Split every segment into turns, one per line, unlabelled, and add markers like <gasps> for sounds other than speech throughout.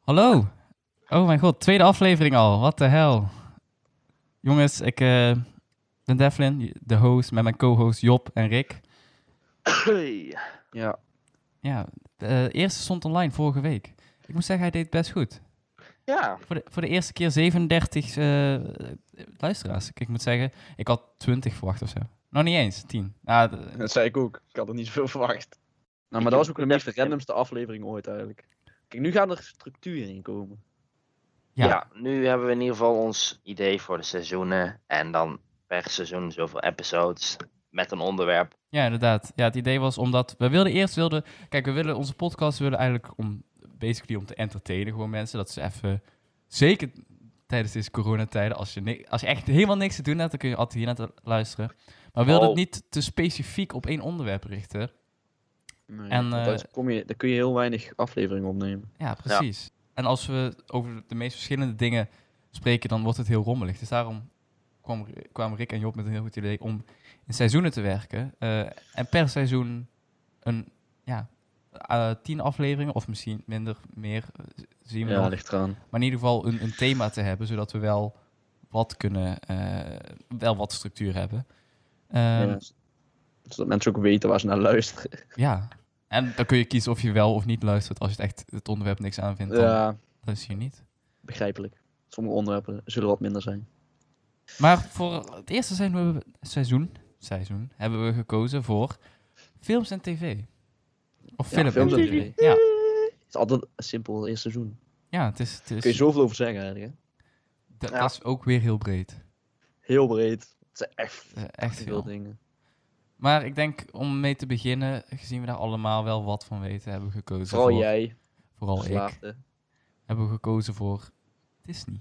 Hallo. Oh mijn god, tweede aflevering al. Wat de hel. Jongens, ik eh, ben Devlin, de host, met mijn co-host Job en Rick.
Ja,
Ja, de eh, eerste stond online vorige week. Ik moet zeggen, hij deed best goed.
Ja.
Voor de, voor de eerste keer 37 eh, luisteraars. Ik moet zeggen, ik had 20 verwacht of zo. Nog niet eens, 10. Nou, d-
dat zei ik ook. Ik had er niet zoveel verwacht. Nou,
Ik
maar dat was ook
heb
de meest
best-
randomste aflevering ooit eigenlijk. Kijk, nu gaan er structuur in komen.
Ja.
Ja. nu hebben we in ieder geval ons idee voor de seizoenen. En dan per seizoen zoveel episodes met een onderwerp.
Ja, inderdaad. Ja, het idee was omdat we wilden eerst wilden. Kijk, we willen onze podcast we willen eigenlijk om basically om te entertainen gewoon mensen. Dat ze even zeker tijdens deze coronatijden, als je, ni- als je echt helemaal niks te doen hebt, dan kun je altijd hier naar luisteren. Maar we wilden
Oh.
het niet te specifiek op één onderwerp richten.
Nee,
En,
want
eh,
daar, kom je, daar kun je heel weinig afleveringen opnemen.
Ja, precies. En als we over de meest verschillende dingen spreken, dan wordt het heel rommelig. Dus daarom kwam, kwamen Rick en Job met een heel goed idee om in seizoenen te werken. eh, en per seizoen een, ja, eh, tien afleveringen, of misschien minder, meer, eh, z- zien we
Ja,
nog.
ligt eraan.
Maar in ieder geval een, een thema te hebben, zodat we wel wat kunnen, eh, wel wat structuur hebben. Ehm,
Ja, Zodat mensen ook weten waar ze naar luisteren.
ja. En dan kun je kiezen of je wel of niet luistert. Als je het echt het onderwerp niks aanvindt, dan
Ja,
luister je niet.
begrijpelijk. Sommige onderwerpen zullen wat minder zijn.
Maar voor het eerste seizoen, we- seizoen, seizoen hebben we gekozen voor films en tv. Of
Ja,
film
films
en
en
tv. Ja,
Het is altijd simpel, het eerste seizoen.
ja, het is, het is,
Daar kun je zoveel over zeggen eigenlijk. Hè?
dat,
Ja.
dat is ook weer heel breed.
Heel breed. Het zijn echt,
Eh, echt
veel
veel.
dingen.
Maar ik denk om mee te beginnen, gezien we daar allemaal wel wat van weten, hebben we gekozen
Vooral
voor,
jij, dus
vooral ik,
verslaafde.
hebben we gekozen voor Disney.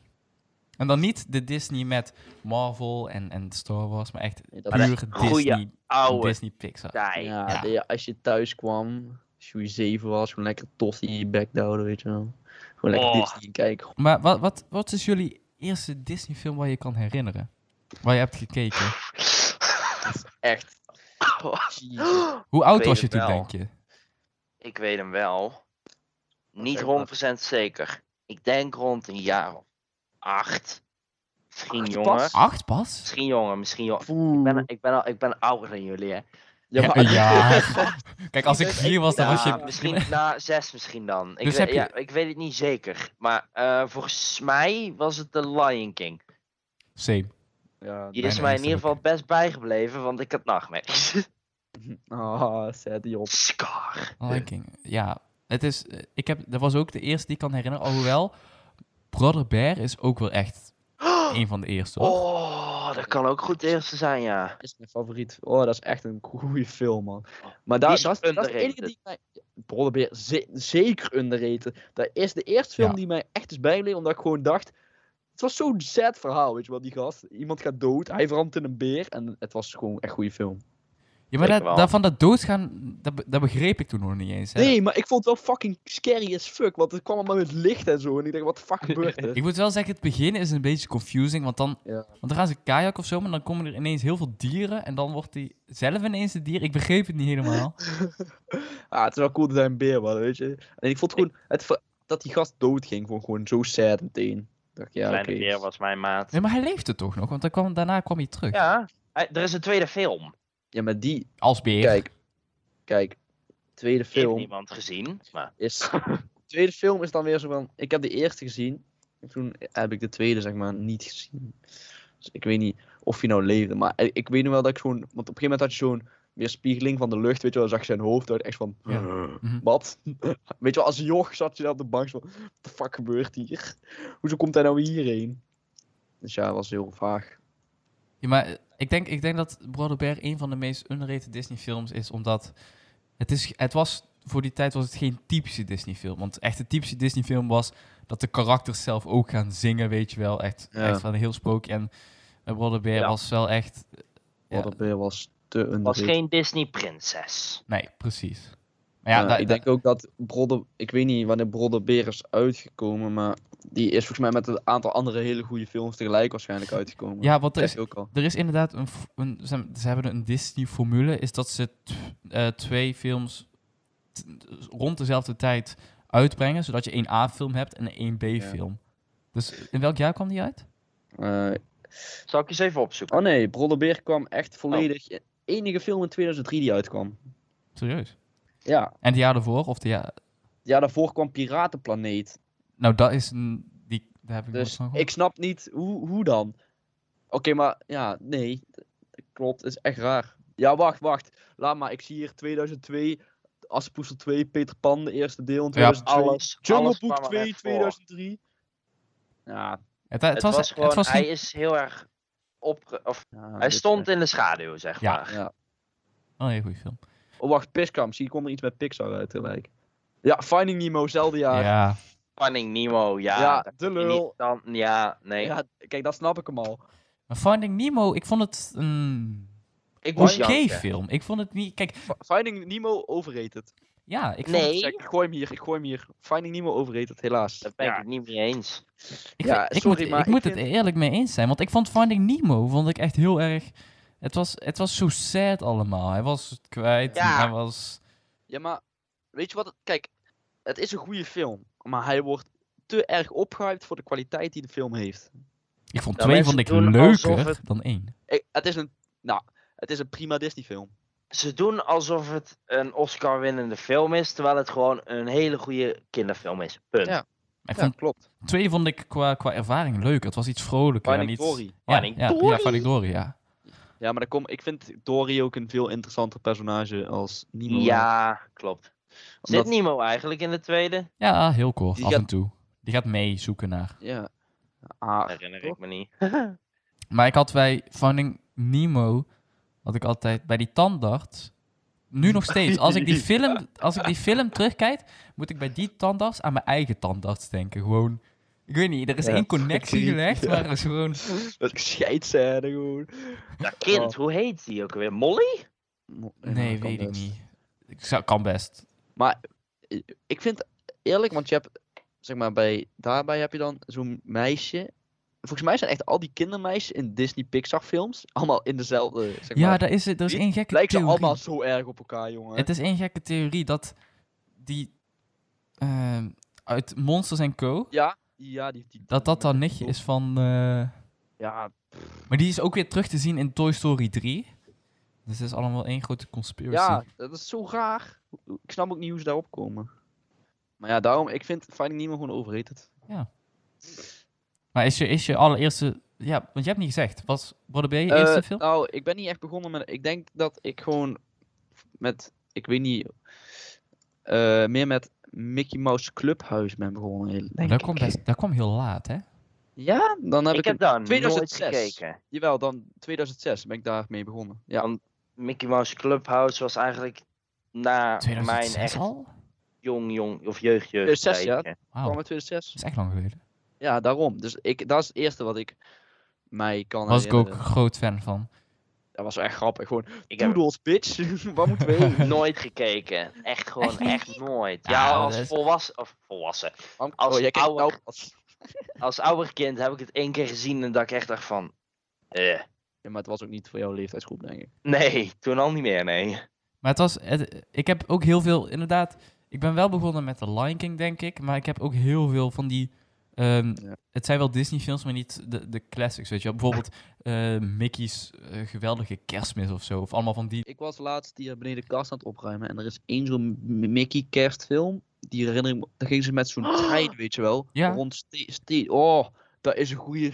En dan niet de Disney met Marvel en, en Star Wars, maar echt
Nee, dat is-
puur
goeie
Disney,
Oude
Disney Pixar.
tijd.
Ja, <laughs>
Ja.
de- als je thuis kwam, als je zeven was, gewoon lekker tosti in je bek houden, weet je wel. Gewoon lekker
Oh.
Disney kijken.
Maar wat, wat, wat is jullie eerste Disney-film waar je kan herinneren? Waar je hebt gekeken?
Echt. Jezus.
Hoe oud
weet
was je
het
toen,
wel.
denk je?
Ik weet hem wel. Niet
zeg
100% zeker. Ik denk rond een jaar of acht. Misschien
Acht
jonger.
pas?
Acht pas?
Misschien jonger, misschien jonger.
Poeh.
Ik ben, ik, ben al, ik ben ouder dan jullie, hè.
Ja,
Ja,
<laughs>
maar-
ja. Kijk, als ik vier was, dan
Ja,
was je...
misschien
<laughs>
na zes misschien dan.
Dus
Ik, weet,
heb je-
ja, ik weet het niet zeker. Maar eh, volgens mij was het The Lion King.
Same.
Ja,
Die
Mijn
is mij in
eerste
ieder geval
ook.
best bijgebleven, want ik had nachtmerries. <laughs>
Ah, zet die op.
Scar.
Lion King. Oh, Ja, het is... eh, Ik heb, dat was ook de eerste die ik kan herinneren. Alhoewel, Brother Bear is ook wel
<gasps>
echt een van de eerste, hoor.
Oh, dat kan ook goed de eerste zijn, ja.
Dat is mijn favoriet. Oh, dat is echt een goede film, man. Maar daar,
Oh. Die is
dat, is, dat is de enige
underrated.
die mij... Brotherbeer, ze- zeker underrated. Dat is de eerste film
Ja.
die mij echt is bijgebleven, omdat ik gewoon dacht... Het was zo'n sad verhaal, weet je wel, die gast. Iemand gaat dood, hij verandert in een beer. En het was gewoon echt een goede film.
Ja, maar dat,
zeker wel.
dat van dat doodgaan, dat, be- dat begreep ik toen nog niet eens. Hè.
Nee, maar ik vond het wel fucking scary as fuck. Want het kwam allemaal met licht en zo. En ik dacht, wat de fuck gebeurt
<laughs>
er?
Ik moet wel zeggen, het begin is een beetje confusing, want dan,
Ja.
want dan gaan ze kajak of zo, maar dan komen er ineens heel veel dieren en dan wordt die zelf ineens een dier. Ik begreep het niet
<laughs>
helemaal.
ah, het is wel cool dat hij een beer was, weet je. En ik vond gewoon, het, ver- dat die gast doodging, vond ik gewoon zo sad meteen. Ik dacht, ja,
Kleine
oké.
beer was mijn maat.
Nee, maar hij leefde toch nog, want dan kwam, daarna kwam hij terug.
Ja, hij- er is een tweede film.
Ja, maar die,
Als beer.
kijk. Kijk, tweede
Ik Heeft
film
niemand gezien. Maar
is... tweede film is dan weer zo van, ik heb de eerste gezien. En toen heb ik de tweede, zeg maar, niet gezien. Dus ik weet niet of je nou leefde. Maar ik, ik weet nu wel dat ik gewoon, want op een gegeven moment had je zo'n weerspiegeling van de lucht, weet je wel, dan zag je zijn hoofd uit, echt van...
Ja. Mhm.
Wat? <laughs> Weet je wel, als een joch zat je daar op de bank zo van, wat de fuck gebeurt hier? Hoezo komt hij nou hierheen? Dus ja, dat was heel vaag.
Ja, maar eh, ik denk, ik denk dat Brother Bear een van de meest underrated Disney films is, omdat het, is, het was, voor die tijd was het geen typische Disney film. Want echt de typische Disney film was dat de karakters zelf ook gaan zingen, weet je wel. Echt,
Ja.
echt van een heel sprookje. En eh, Brother Bear
Ja.
was wel echt... eh, ja,
Wat ja. was te
was
underrated.
geen Disney-prinses.
nee, precies. Maar ja,
Ja,
da-
Eh, ik
da-
denk ook dat Brodde, ik weet niet wanneer Brodde Beer is uitgekomen, maar die is volgens mij met een aantal andere hele goede films tegelijk waarschijnlijk uitgekomen.
ja, want er
dat
is,
is ook al.
Er is inderdaad een, f- een ze, ze hebben een Disney-formule, is dat ze t- eh, twee films t- rond dezelfde tijd uitbrengen, zodat je een A-film hebt en een 1B-film. Dus in welk jaar kwam die uit?
Eh,
Zal ik eens even opzoeken?
oh nee, Brodderbeer kwam
Oh.
echt volledig. Enige film in 2003 die uitkwam.
Serieus.
Ja,
En het jaar daarvoor? Of de jaar...
ja daarvoor kwam Piratenplaneet.
Nou, dat is een... Die, daar heb ik nooit
Dus
van gehoord.
ik snap niet hoe, hoe dan. Oké, maar ja, nee. d- Klopt, is echt raar. Ja, wacht, wacht. Laat maar, ik zie hier 2002. Assepoester 2, Peter Pan, de eerste deel in 2002.
Alles.
Jungle
alles
Book
kwam er
2,
net voor.
2003. Ja,
Het, het
Het
was,
was, gewoon,
het was
hij
niet-
is heel erg op. Of,
ja,
hij
dit- eh,
stond in de schaduw, zeg
Ja.
maar.
Ja.
Oh, een hele goede film.
Oh, wacht, Piskamp. Zie, komt er iets met Pixar uit tegelijk. Ja, Finding Nemo, zelfde jaar. Ja,
Ja.
Finding Nemo, ja. dat
de
kun je
lul.
niet Dan, ja, nee.
Ja, kijk, dat snap ik hem al.
Maar Finding Nemo, ik vond het een
ik was
oké
janken.
film. Ik vond het niet... Kijk,
F- Finding Nemo, overrated.
ja, ik vond
Nee.
het-
Zeg, ik gooi hem hier, ik gooi hem hier. Finding Nemo, overrated, helaas.
Daar ben ik het niet mee eens.
Ik,
Ja,
ik
sorry,
moet,
maar
ik
ik
moet het
vind-
eerlijk mee eens zijn. Want ik vond Finding Nemo vond ik echt heel erg. Het was, het was zo sad allemaal. Hij was het kwijt. en
Ja.
Hij was.
Ja, maar weet je wat? het- Kijk, het is een goede film, maar hij wordt te erg opgehyped voor de kwaliteit die de film heeft.
Ik vond
Nou,
Ja,
twee
mensen
vond ik
doen
leuker
alsof het-
dan één.
Ik- het is een, nou, het is een prima Disney-film.
Ze doen alsof het een Oscar-winnende film is, terwijl het gewoon een hele goede kinderfilm is. Punt.
Ja.
Maar Ik
Ja,
vond,
klopt.
twee vond ik qua, qua ervaring leuker. Het was iets vrolijker. en
Finding
iets,
Dory.
Ja,
Finding
ja, ja,
Dory.
Finding Dory, ja.
Ja, maar dan kom, ik vind Dory ook een veel interessanter personage als Nemo.
Ja, klopt.
Omdat- Ah,
Zit Nemo eigenlijk in de tweede?
Ja, heel kort,
Die
af
gaat-
en toe. Die gaat mee zoeken naar.
Ja. <laughs> Ah,
Herinner
toch?
ik me niet.
Maar ik had bij Finding Nemo, had ik altijd bij die tandarts. Nu nog steeds. Als
<laughs>
ik die film, als ik die film terugkijk, moet ik bij die tandarts aan mijn eigen tandarts denken. Gewoon, ik weet niet, er is
Ja,
één connectie
creepy,
gelegd,
ja.
maar er is gewoon...
dat scheidserde gewoon.
Dat kind,
Oh.
hoe heet die ook weer? Molly?
Mo- ja,
Nee,
kan
weet ik
best. eh,
niet. Ik zou, kan best.
Ik vind eerlijk, want je hebt, zeg maar, bij, daarbij heb je dan zo'n meisje. Volgens mij zijn echt al die kindermeisjes in Disney Pixar films allemaal in dezelfde. Zeg
Ja,
maar,
daar is, het- er is één gekke
lijken ze
theorie.
allemaal zo erg op elkaar, jongen.
Het is één gekke theorie dat die ehm, uit Monsters Co.
Ja, ja, die, die
Dat dat dan nichtje
Oh.
is van... eh,
Ja,
Maar die is ook weer terug te zien in Toy Story 3. Dus dat is allemaal één grote conspiracy.
ja, dat is zo raar. Ik snap ook niet hoe ze daarop komen. Maar ja, daarom, ik vind Finding Nemo gewoon overrated.
Maar is je, is je allereerste... Ja, want je hebt niet gezegd. Was Broderbee je
Eh,
eerste film?
Nou, ik ben niet echt begonnen met. Ik denk dat ik gewoon met. Ik weet niet. eh, meer met Mickey Mouse Clubhuis ben begonnen.
Maar dat
Denk ik.
kwam, best, dat kwam heel laat, hè?
Ja, dan heb ik.
ik heb
hem-
daar nooit
2006.
gekeken.
Jawel, dan 2006 ben ik daarmee begonnen.
Oh.
Ja,
Dan- Mickey Mouse Clubhouse was eigenlijk na mijn
2006
echt
al?
jong, jong, of jeugd,
Eh,
jeugd.
zes
tijdje.
Wauw,
kwam
dat
in 2006.
is echt lang geleden.
Ja, daarom. Dus ik, dat is het eerste wat ik mij kan
was ik ook
herinneren.
groot fan van.
Dat was wel echt grappig. Gewoon,
Ik heb
doodles, bitch. <laughs> Waar moeten we
<laughs>
heen?
nooit gekeken. Echt gewoon, echt nooit.
Ja,
Ja,
Ah, dat
als
is-
volwassen, of volwassen.
Am-
Als
oh, jij kijkt
ouder-
nou pas.
Als ouder kind heb ik het één keer gezien en dat ik echt dacht van, eh,
Ja, maar het was ook niet voor jouw leeftijdsgroep, denk ik.
nee, toen al niet meer, nee.
Maar het was... het- ik heb ook heel veel... Inderdaad, ik ben wel begonnen met The Lion King, denk ik. Maar ik heb ook heel veel van die... ehm,
Ja.
Het zijn wel Disney-films, maar niet de, de classics, weet je wel. Bijvoorbeeld eh, Mickey's eh, Geweldige Kerstmis of zo. Of allemaal van die
Ik was laatst hier beneden de kast aan het opruimen. En er is één zo'n M- Mickey kerstfilm. Die herinner ik me. Daar gingen ze
<gasps>
met zo'n trein, weet je wel.
Ja.
Rond ste- ste- Oh, dat is een goede.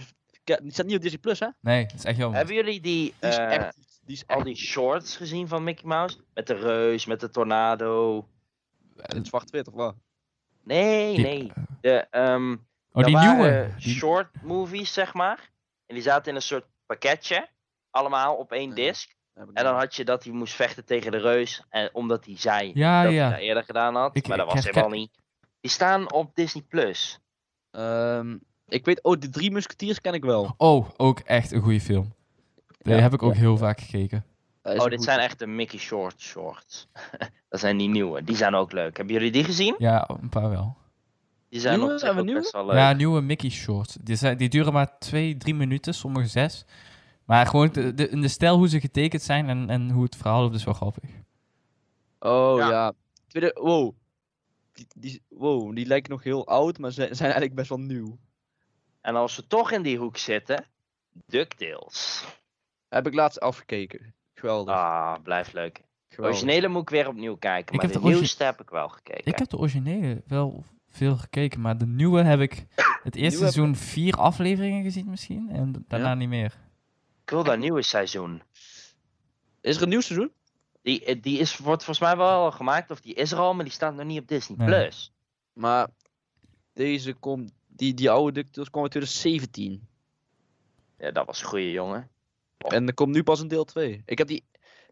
Die staat niet op Disney Plus, hè?
Nee, dat is echt jammer.
Hebben jullie die,
Die is
eh,
echt. Die is
al
echt
die shorts gezien van Mickey Mouse? Met de reus, met de tornado.
in zwart-wit, of wat?
Nee,
Die-
nee. De, ehm
Oh, die
dat
nieuwe.
waren eh,
die-
short movies, zeg maar. En die zaten in een soort pakketje. Allemaal op één
Ja.
disc.
Heb ik
En dan
niet.
had je dat hij moest vechten tegen de reus. En omdat hij zei
Ja,
dat
Ah, ja.
hij dat eerder gedaan had.
Ik-
maar dat
ik
was
herken-
helemaal niet. Die staan op Disney Plus.
Ehm, ik weet, oh, de drie musketiers ken ik wel.
Oh, ook echt een goede film. Die
Ja,
heb ik ook
ja.
heel vaak gekeken.
Dat Eh, is
Oh,
een
dit
goed-
zijn echt de Mickey Short shorts. <laughs> dat zijn die nieuwe. Die zijn ook leuk. Hebben jullie die gezien?
Ja, een paar wel.
Die zijn
Nieuwe?
op zich
Hebben we
ook best wel leuk.
Ja, nieuwe Mickey shorts. Die, zijn, die duren maar twee, drie minuten, sommige zes. Maar gewoon de, de, in de stijl hoe ze getekend zijn en, en hoe het verhaal loopt is wel grappig.
Oh
Ja.
ja. Tweede, wow. die, die, wow, die lijken nog heel oud, maar ze zijn eigenlijk best wel nieuw.
En als we toch in die hoek zitten, DuckTales.
Heb ik laatst afgekeken. Geweldig.
Ah, blijf leuk. De
geweldig.
originele moet ik weer opnieuw kijken, maar
heb
de
de origi-
nieuwste heb ik wel gekeken.
Ik heb de originele wel veel gekeken, maar de nieuwe heb ik het eerste
heb-
seizoen vier afleveringen gezien misschien. En daarna
Ja.
niet meer.
Ik wil dat nieuwe seizoen.
Is er een nieuw seizoen?
Die, eh, die is, wordt volgens mij wel al gemaakt, of die is er al, maar die staat nog niet op Disney+.
Nee.
Plus.
Maar deze komt, die, die oude DuckTales kwam in 2017.
Ja, dat was een goeie jongen.
En er komt nu pas een deel 2. Ik heb die,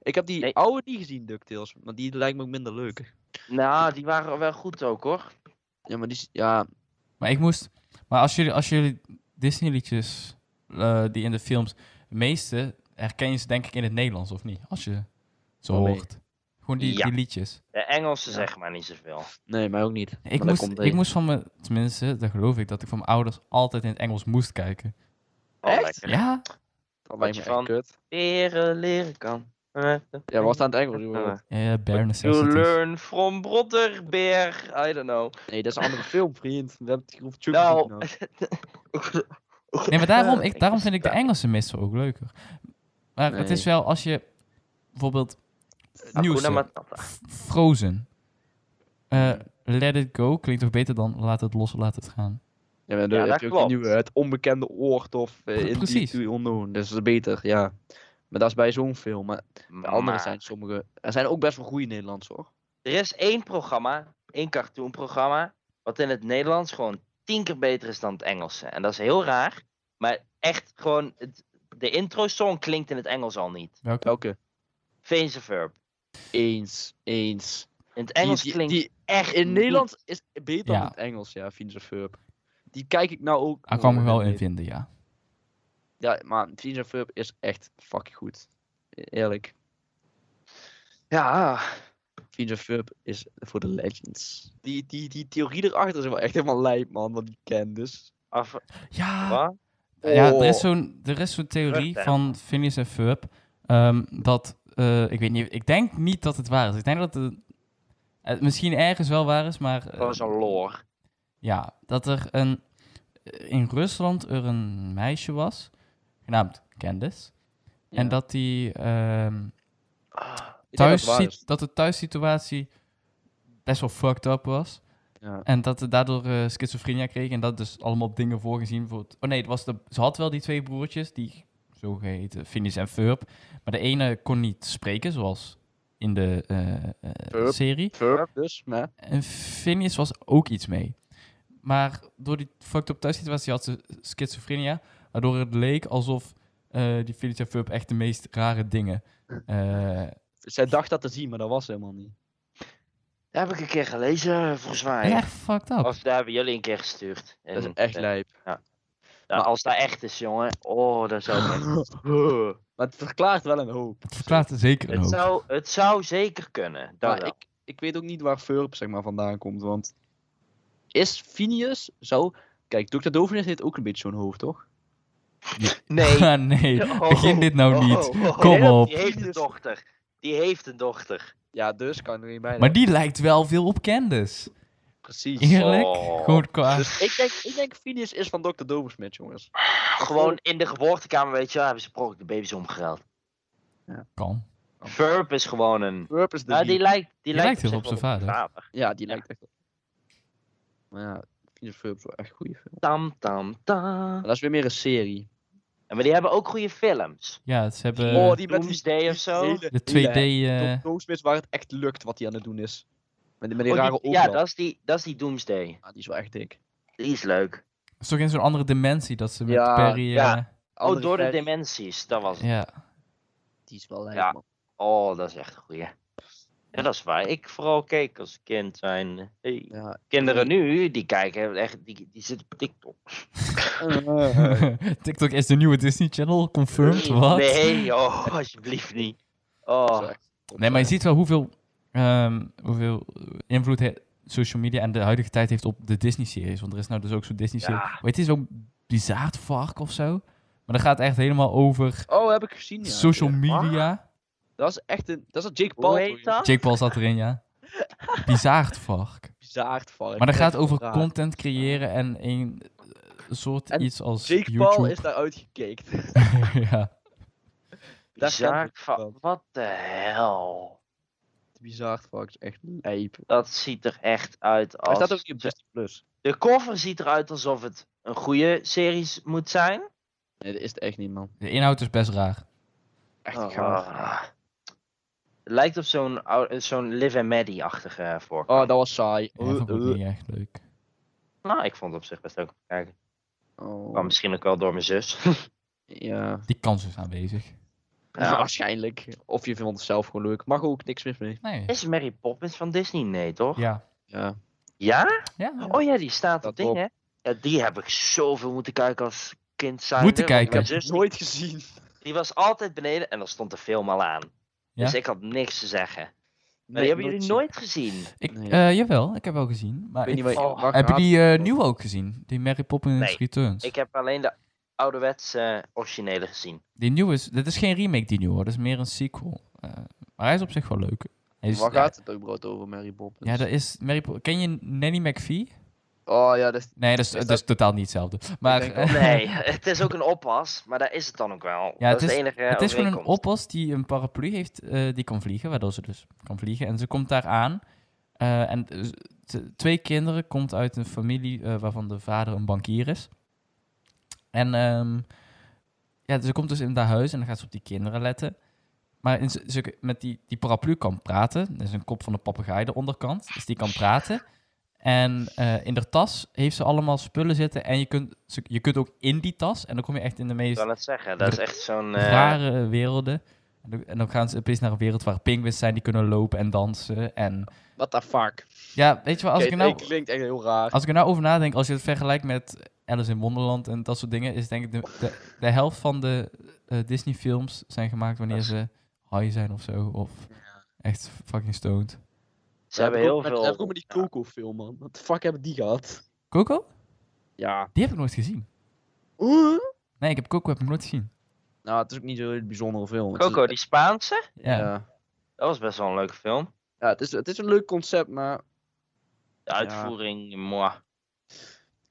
ik heb die
Nee.
oude niet gezien, DuckTales. Maar die lijkt me ook minder leuk.
Nou, die waren wel goed ook hoor.
Ja, maar die is- ja,
Maar ik moest. Maar als jullie, als jullie Disney liedjes eh, die in de films. De meeste herken je ze denk ik in het Nederlands of niet? Als je ze
Wel mee.
hoort. Gewoon die,
Ja.
die liedjes.
De Engelsen
Ja.
zeg maar niet zoveel.
nee, mij ook niet. Maar
Ik
daar
moest,
komt
ik
een.
moest van mijn, tenminste, dat geloof ik, dat ik van mijn ouders altijd in het Engels moest kijken.
Oh,
Echt?
lekker.
Ja?
Dat
Wat
lijkt me
je
echt kut.
Leren, leren kan. Eh,
Ja, was het aan het Engels?
Ja.
joh.
Ja, ja bare
You
necessities.
learn from Brotterberg. I don't know.
Nee, dat is een andere film, vriend. We hebben het over Chucky
Nou. <laughs>
gezien, nou.
Nee, maar daarom, ik,
Eh,
daarom vind ik de
ja.
Engelse meestal ook leuker. Maar het is
Nee.
wel als je bijvoorbeeld
Hakuna
nieuws
Matata.
Frozen. Eh, let it go klinkt toch beter dan laat het los, laat het gaan.
Ja, maar
Ja,
dan
dat
heb je ook
klopt.
die nieuwe, het onbekende oord of eh,
Pre-
in
precies.
die onnoon. Dus dat is beter, ja. Maar dat is bij zo'n film. Maar bij andere
Maar
zijn sommige... Er zijn ook best wel goede Nederlands, hoor.
Er is één programma, één cartoonprogramma, wat in het Nederlands gewoon tien keer beter is dan het Engelse. En dat is heel raar, maar echt gewoon, het- de intro-song klinkt in het Engels al niet.
Welke?
Welke?
Veens verb.
Eens, eens.
In het
Die-
Engels
die-
klinkt
die-
echt
In
niet.
Nederland is het beter
Ja.
dan het Engels, ja, Fiends of Ferb. Die kijk ik nou ook.
Daar Ah, kan ik
oh,
me wel
nee.
in vinden, ja.
Ja, maar Fiends of Ferb is echt fucking goed. E- Eerlijk.
Ja,
Ah. Fiends of Ferb is voor de legends. Die, die, die theorie erachter is wel echt helemaal lijp, man, wat ik ken, dus.
af,
Ja,
wat?
ja er
Oh.
is zo'n er is zo'n theorie
Terug, hè?
van Phineas en Ferb. ehm, dat, eh, ik weet niet, ik denk niet dat het waar is. Ik denk dat het eh, misschien ergens wel waar is, maar... eh,
Gewoon zo'n lore.
Ja, dat er een, eh, in Rusland er een meisje was, genaamd Candice. En
Ja.
dat die ehm,
Ah,
Ik denk dat
thuis
het waar
ziet-
is.
dat de thuissituatie best wel fucked up was.
Ja.
En dat ze daardoor eh schizofrenia kreeg en dat dus allemaal dingen voorgezien voor het- Oh nee, het was de, ze had wel die twee broertjes, die zogeheten Phineas en Ferb. Maar de ene kon niet spreken, zoals in de eh, eh,
Ferb.
serie.
Ferb dus, maar
En Phineas was ook iets mee. Maar door die fucked up thuissituatie had ze schizofrenia. Waardoor het leek alsof eh, die Phineas en Ferb echt de meest rare dingen... eh,
zij dacht dat te zien, maar dat was helemaal niet.
Dat heb ik een keer gelezen, volgens mij.
echt fucked <laughs> up.
Of daar hebben jullie een keer gestuurd.
Dat is
En,
echt
eh, <laughs>
lijp.
nou, als dat echt is, jongen. Oh, dat zou ik
maar het verklaart wel een hoop.
Het verklaart zeker een
Het
hoop.
zou, het zou zeker kunnen. Dat
Maar
wel.
ik, ik weet ook niet waar Furp zeg maar, vandaan komt, want is Phineas zo... Kijk, Dr. Dovinus heeft ook een beetje zo'n hoofd, toch?
<laughs>
Nee.
Ah, nee,
Oh,
begin dit nou
oh,
niet.
oh, oh.
Kom
Die heeft-
op.
Die heeft een dochter. Die heeft een dochter.
Ja, dus kan er niet bij.
Maar die lijkt wel veel op Candice.
Precies.
Eerlijk?
Oh.
Gewoon qua...
Dus
Ik denk, ik denk Phineas is van Dr. Doversmit, jongens.
gewoon in de geboortekamer, weet je wel, hebben ze per ongeluk de baby's omgeruild.
Kan.
Verp is gewoon een...
Furp is de
Nou, die
die...
lijkt, die
lijkt
lijkt
heel
zich
op zijn
wel
vader.
Ja, die lijkt echt... op- Maar ja, Phineas Furp is wel echt een goede film.
Tam, tam, tam.
Maar dat is weer meer een serie.
En Maar die hebben ook goede films.
Ja, ze hebben
oh,
eh,
die met die,
Doomsday of zo?
de 2D... eh,
Dr. Doversmit waar het echt lukt wat hij aan het doen is. Met die, met die
Oh, die-
rare ogen.
ja, dat is, die, dat is die Doomsday.
die is wel echt dik.
Die is leuk.
is toch in zo'n andere dimensie dat ze met
Ja,
Perry... eh,
ja.
Andere
oh, door de
versie,
dimensies. Dat was het.
ja. <laughs>
Die is wel lijp,
Ja.
man.
Oh, dat is echt een goeie. Ja, dat is waar. Ik vooral keek als kind zijn. Hey.
Ja, <laughs>
Kinderen nu, die kijken echt, die, die zitten op TikTok.
Eh,
TikTok is de nieuwe Disney Channel, confirmed, wat?
Nee, oh, <laughs> alsjeblieft niet. Oh,
Nee, maar je ziet wel hoeveel, ehm, hoeveel invloed he- social media en de huidige tijd heeft op de Disney-series. Want er is nou dus ook zo'n Disney-serie.
Ja.
Weet je, het is ook Bizarre Vark of zo. Maar dat gaat echt helemaal over
Oh, heb ik gezien. Ja.
social
Ja.
media.
Dat is echt een. Dat is een Jake Paul.
hoe heet dat?
Jake Paul zat erin, ja. Bizarre Vark.
bizaard vark.
Maar dat
Echt
gaat over
raar.
content creëren en een soort
En
iets als
Jake
YouTube.
Paul is daar
<laughs>
uitgekeekt.
ja.
Daar
Bizar,
kent hij van.
wat de hel.
Bizaard vark is echt lijp.
Dat ziet er echt uit
Hij
als...
staat ook in Disney Plus.
De cover ziet eruit alsof het een goede series moet zijn.
Nee, dat is het echt niet, man.
De inhoud is best raar.
Echt
Oh,
gaaf.
ah. Het lijkt op zo'n ou- eh, zo'n Liv and Maddie-achtige vork.
Oh, dat was saai. Oh,
Ja, dat vond ik ook niet echt leuk.
Nou, ik vond het op zich best leuk om te kijken. Maar
Oh,
misschien ook wel door mijn zus. <laughs>
ja.
Die kans is aanwezig.
Ja.
<laughs> Waarschijnlijk. Of je vindt het zelf gewoon leuk. Mag ook niks mis mee.
Nee.
Is Mary Poppins van Disney? Nee, toch?
Ja.
Ja.
Ja?
ja.
Oh ja, die staat op
Staat
ding,
op.
hè? Ja, die heb ik zoveel moeten kijken als kind. zijnde,
Moeten
want
kijken.
Mijn zus,
Nooit gezien.
die was altijd beneden en dan stond de film al aan.
Ja?
Dus ik had niks te zeggen. Maar
Nee,
die hebben jullie nooit gezien.
Ik,
Nee.
eh, jawel, ik heb wel gezien. Maar
Ik weet niet
ik-
waar je-
Oh,
waar
heb je
gaat-
die eh nieuwe ook gezien? Die Mary Poppins
Nee,
Returns.
Ik heb alleen de ouderwetse eh, originele
<laughs>
gezien.
Die nieuwe is... Dit is geen remake, die nieuwe. hoor. Dat is meer een sequel. Eh, maar hij is op zich wel leuk. Hij is,
Waar gaat het ook brood over, Mary Poppins?
Ja, dat is... Mary Po- Ken je Nanny McPhee?
Oh ja, dat is...
Nee, dat is,
Is
dat
dat-
is totaal niet hetzelfde. Maar
denk
eh,
Nee, het is ook een oppas, maar daar is het dan ook wel.
Ja,
dat
het
is
is-
de enige
het is gewoon een
eh, overeenkomst.
oppas die een paraplu heeft, eh, die kan vliegen, waardoor ze dus kan vliegen. En ze komt daar aan. eh, en eh, t- twee kinderen komt uit een familie eh, waarvan de vader een bankier is. En ehm, ja, ze komt dus in dat huis en dan gaat ze op die kinderen letten. Maar in, ze, ze- met die, die paraplu kan praten. Er is een kop van een papegaai de onderkant. Dus die kan praten. En eh, in haar tas heeft ze allemaal spullen zitten. En je kunt, ze- je kunt ook in die tas. En dan kom je echt in de
Ik
meest
kan het zeggen, dat is echt zo'n... eh,
rare werelden. En dan- En dan gaan ze opeens naar een wereld waar pinguïns zijn die kunnen lopen en dansen. En
What the fuck?
ja, weet je wel, als ik er nou,
klinkt echt heel raar.
als ik er nou over nadenk, als je het vergelijkt met Alice in Wonderland en dat soort dingen, is denk ik de, de, de helft van de eh, Disney-films zijn gemaakt wanneer
Dat is-
ze high zijn of zo. Of echt fucking stoned.
Ze hebben heel veel...
Heb ook met die Coco-film, man. Wat de fuck hebben die gehad?
Coco?
Ja.
Die heb ik nooit gezien. Nee, ik heb Coco heb ik nooit gezien.
Nou, het is ook niet zo'n heel bijzondere film. Het is-
Coco, die Spaanse?
Ja.
Ja,
Dat was best wel een leuke film.
ja het, is, het is een leuk concept, maar...
De uitvoering, moi.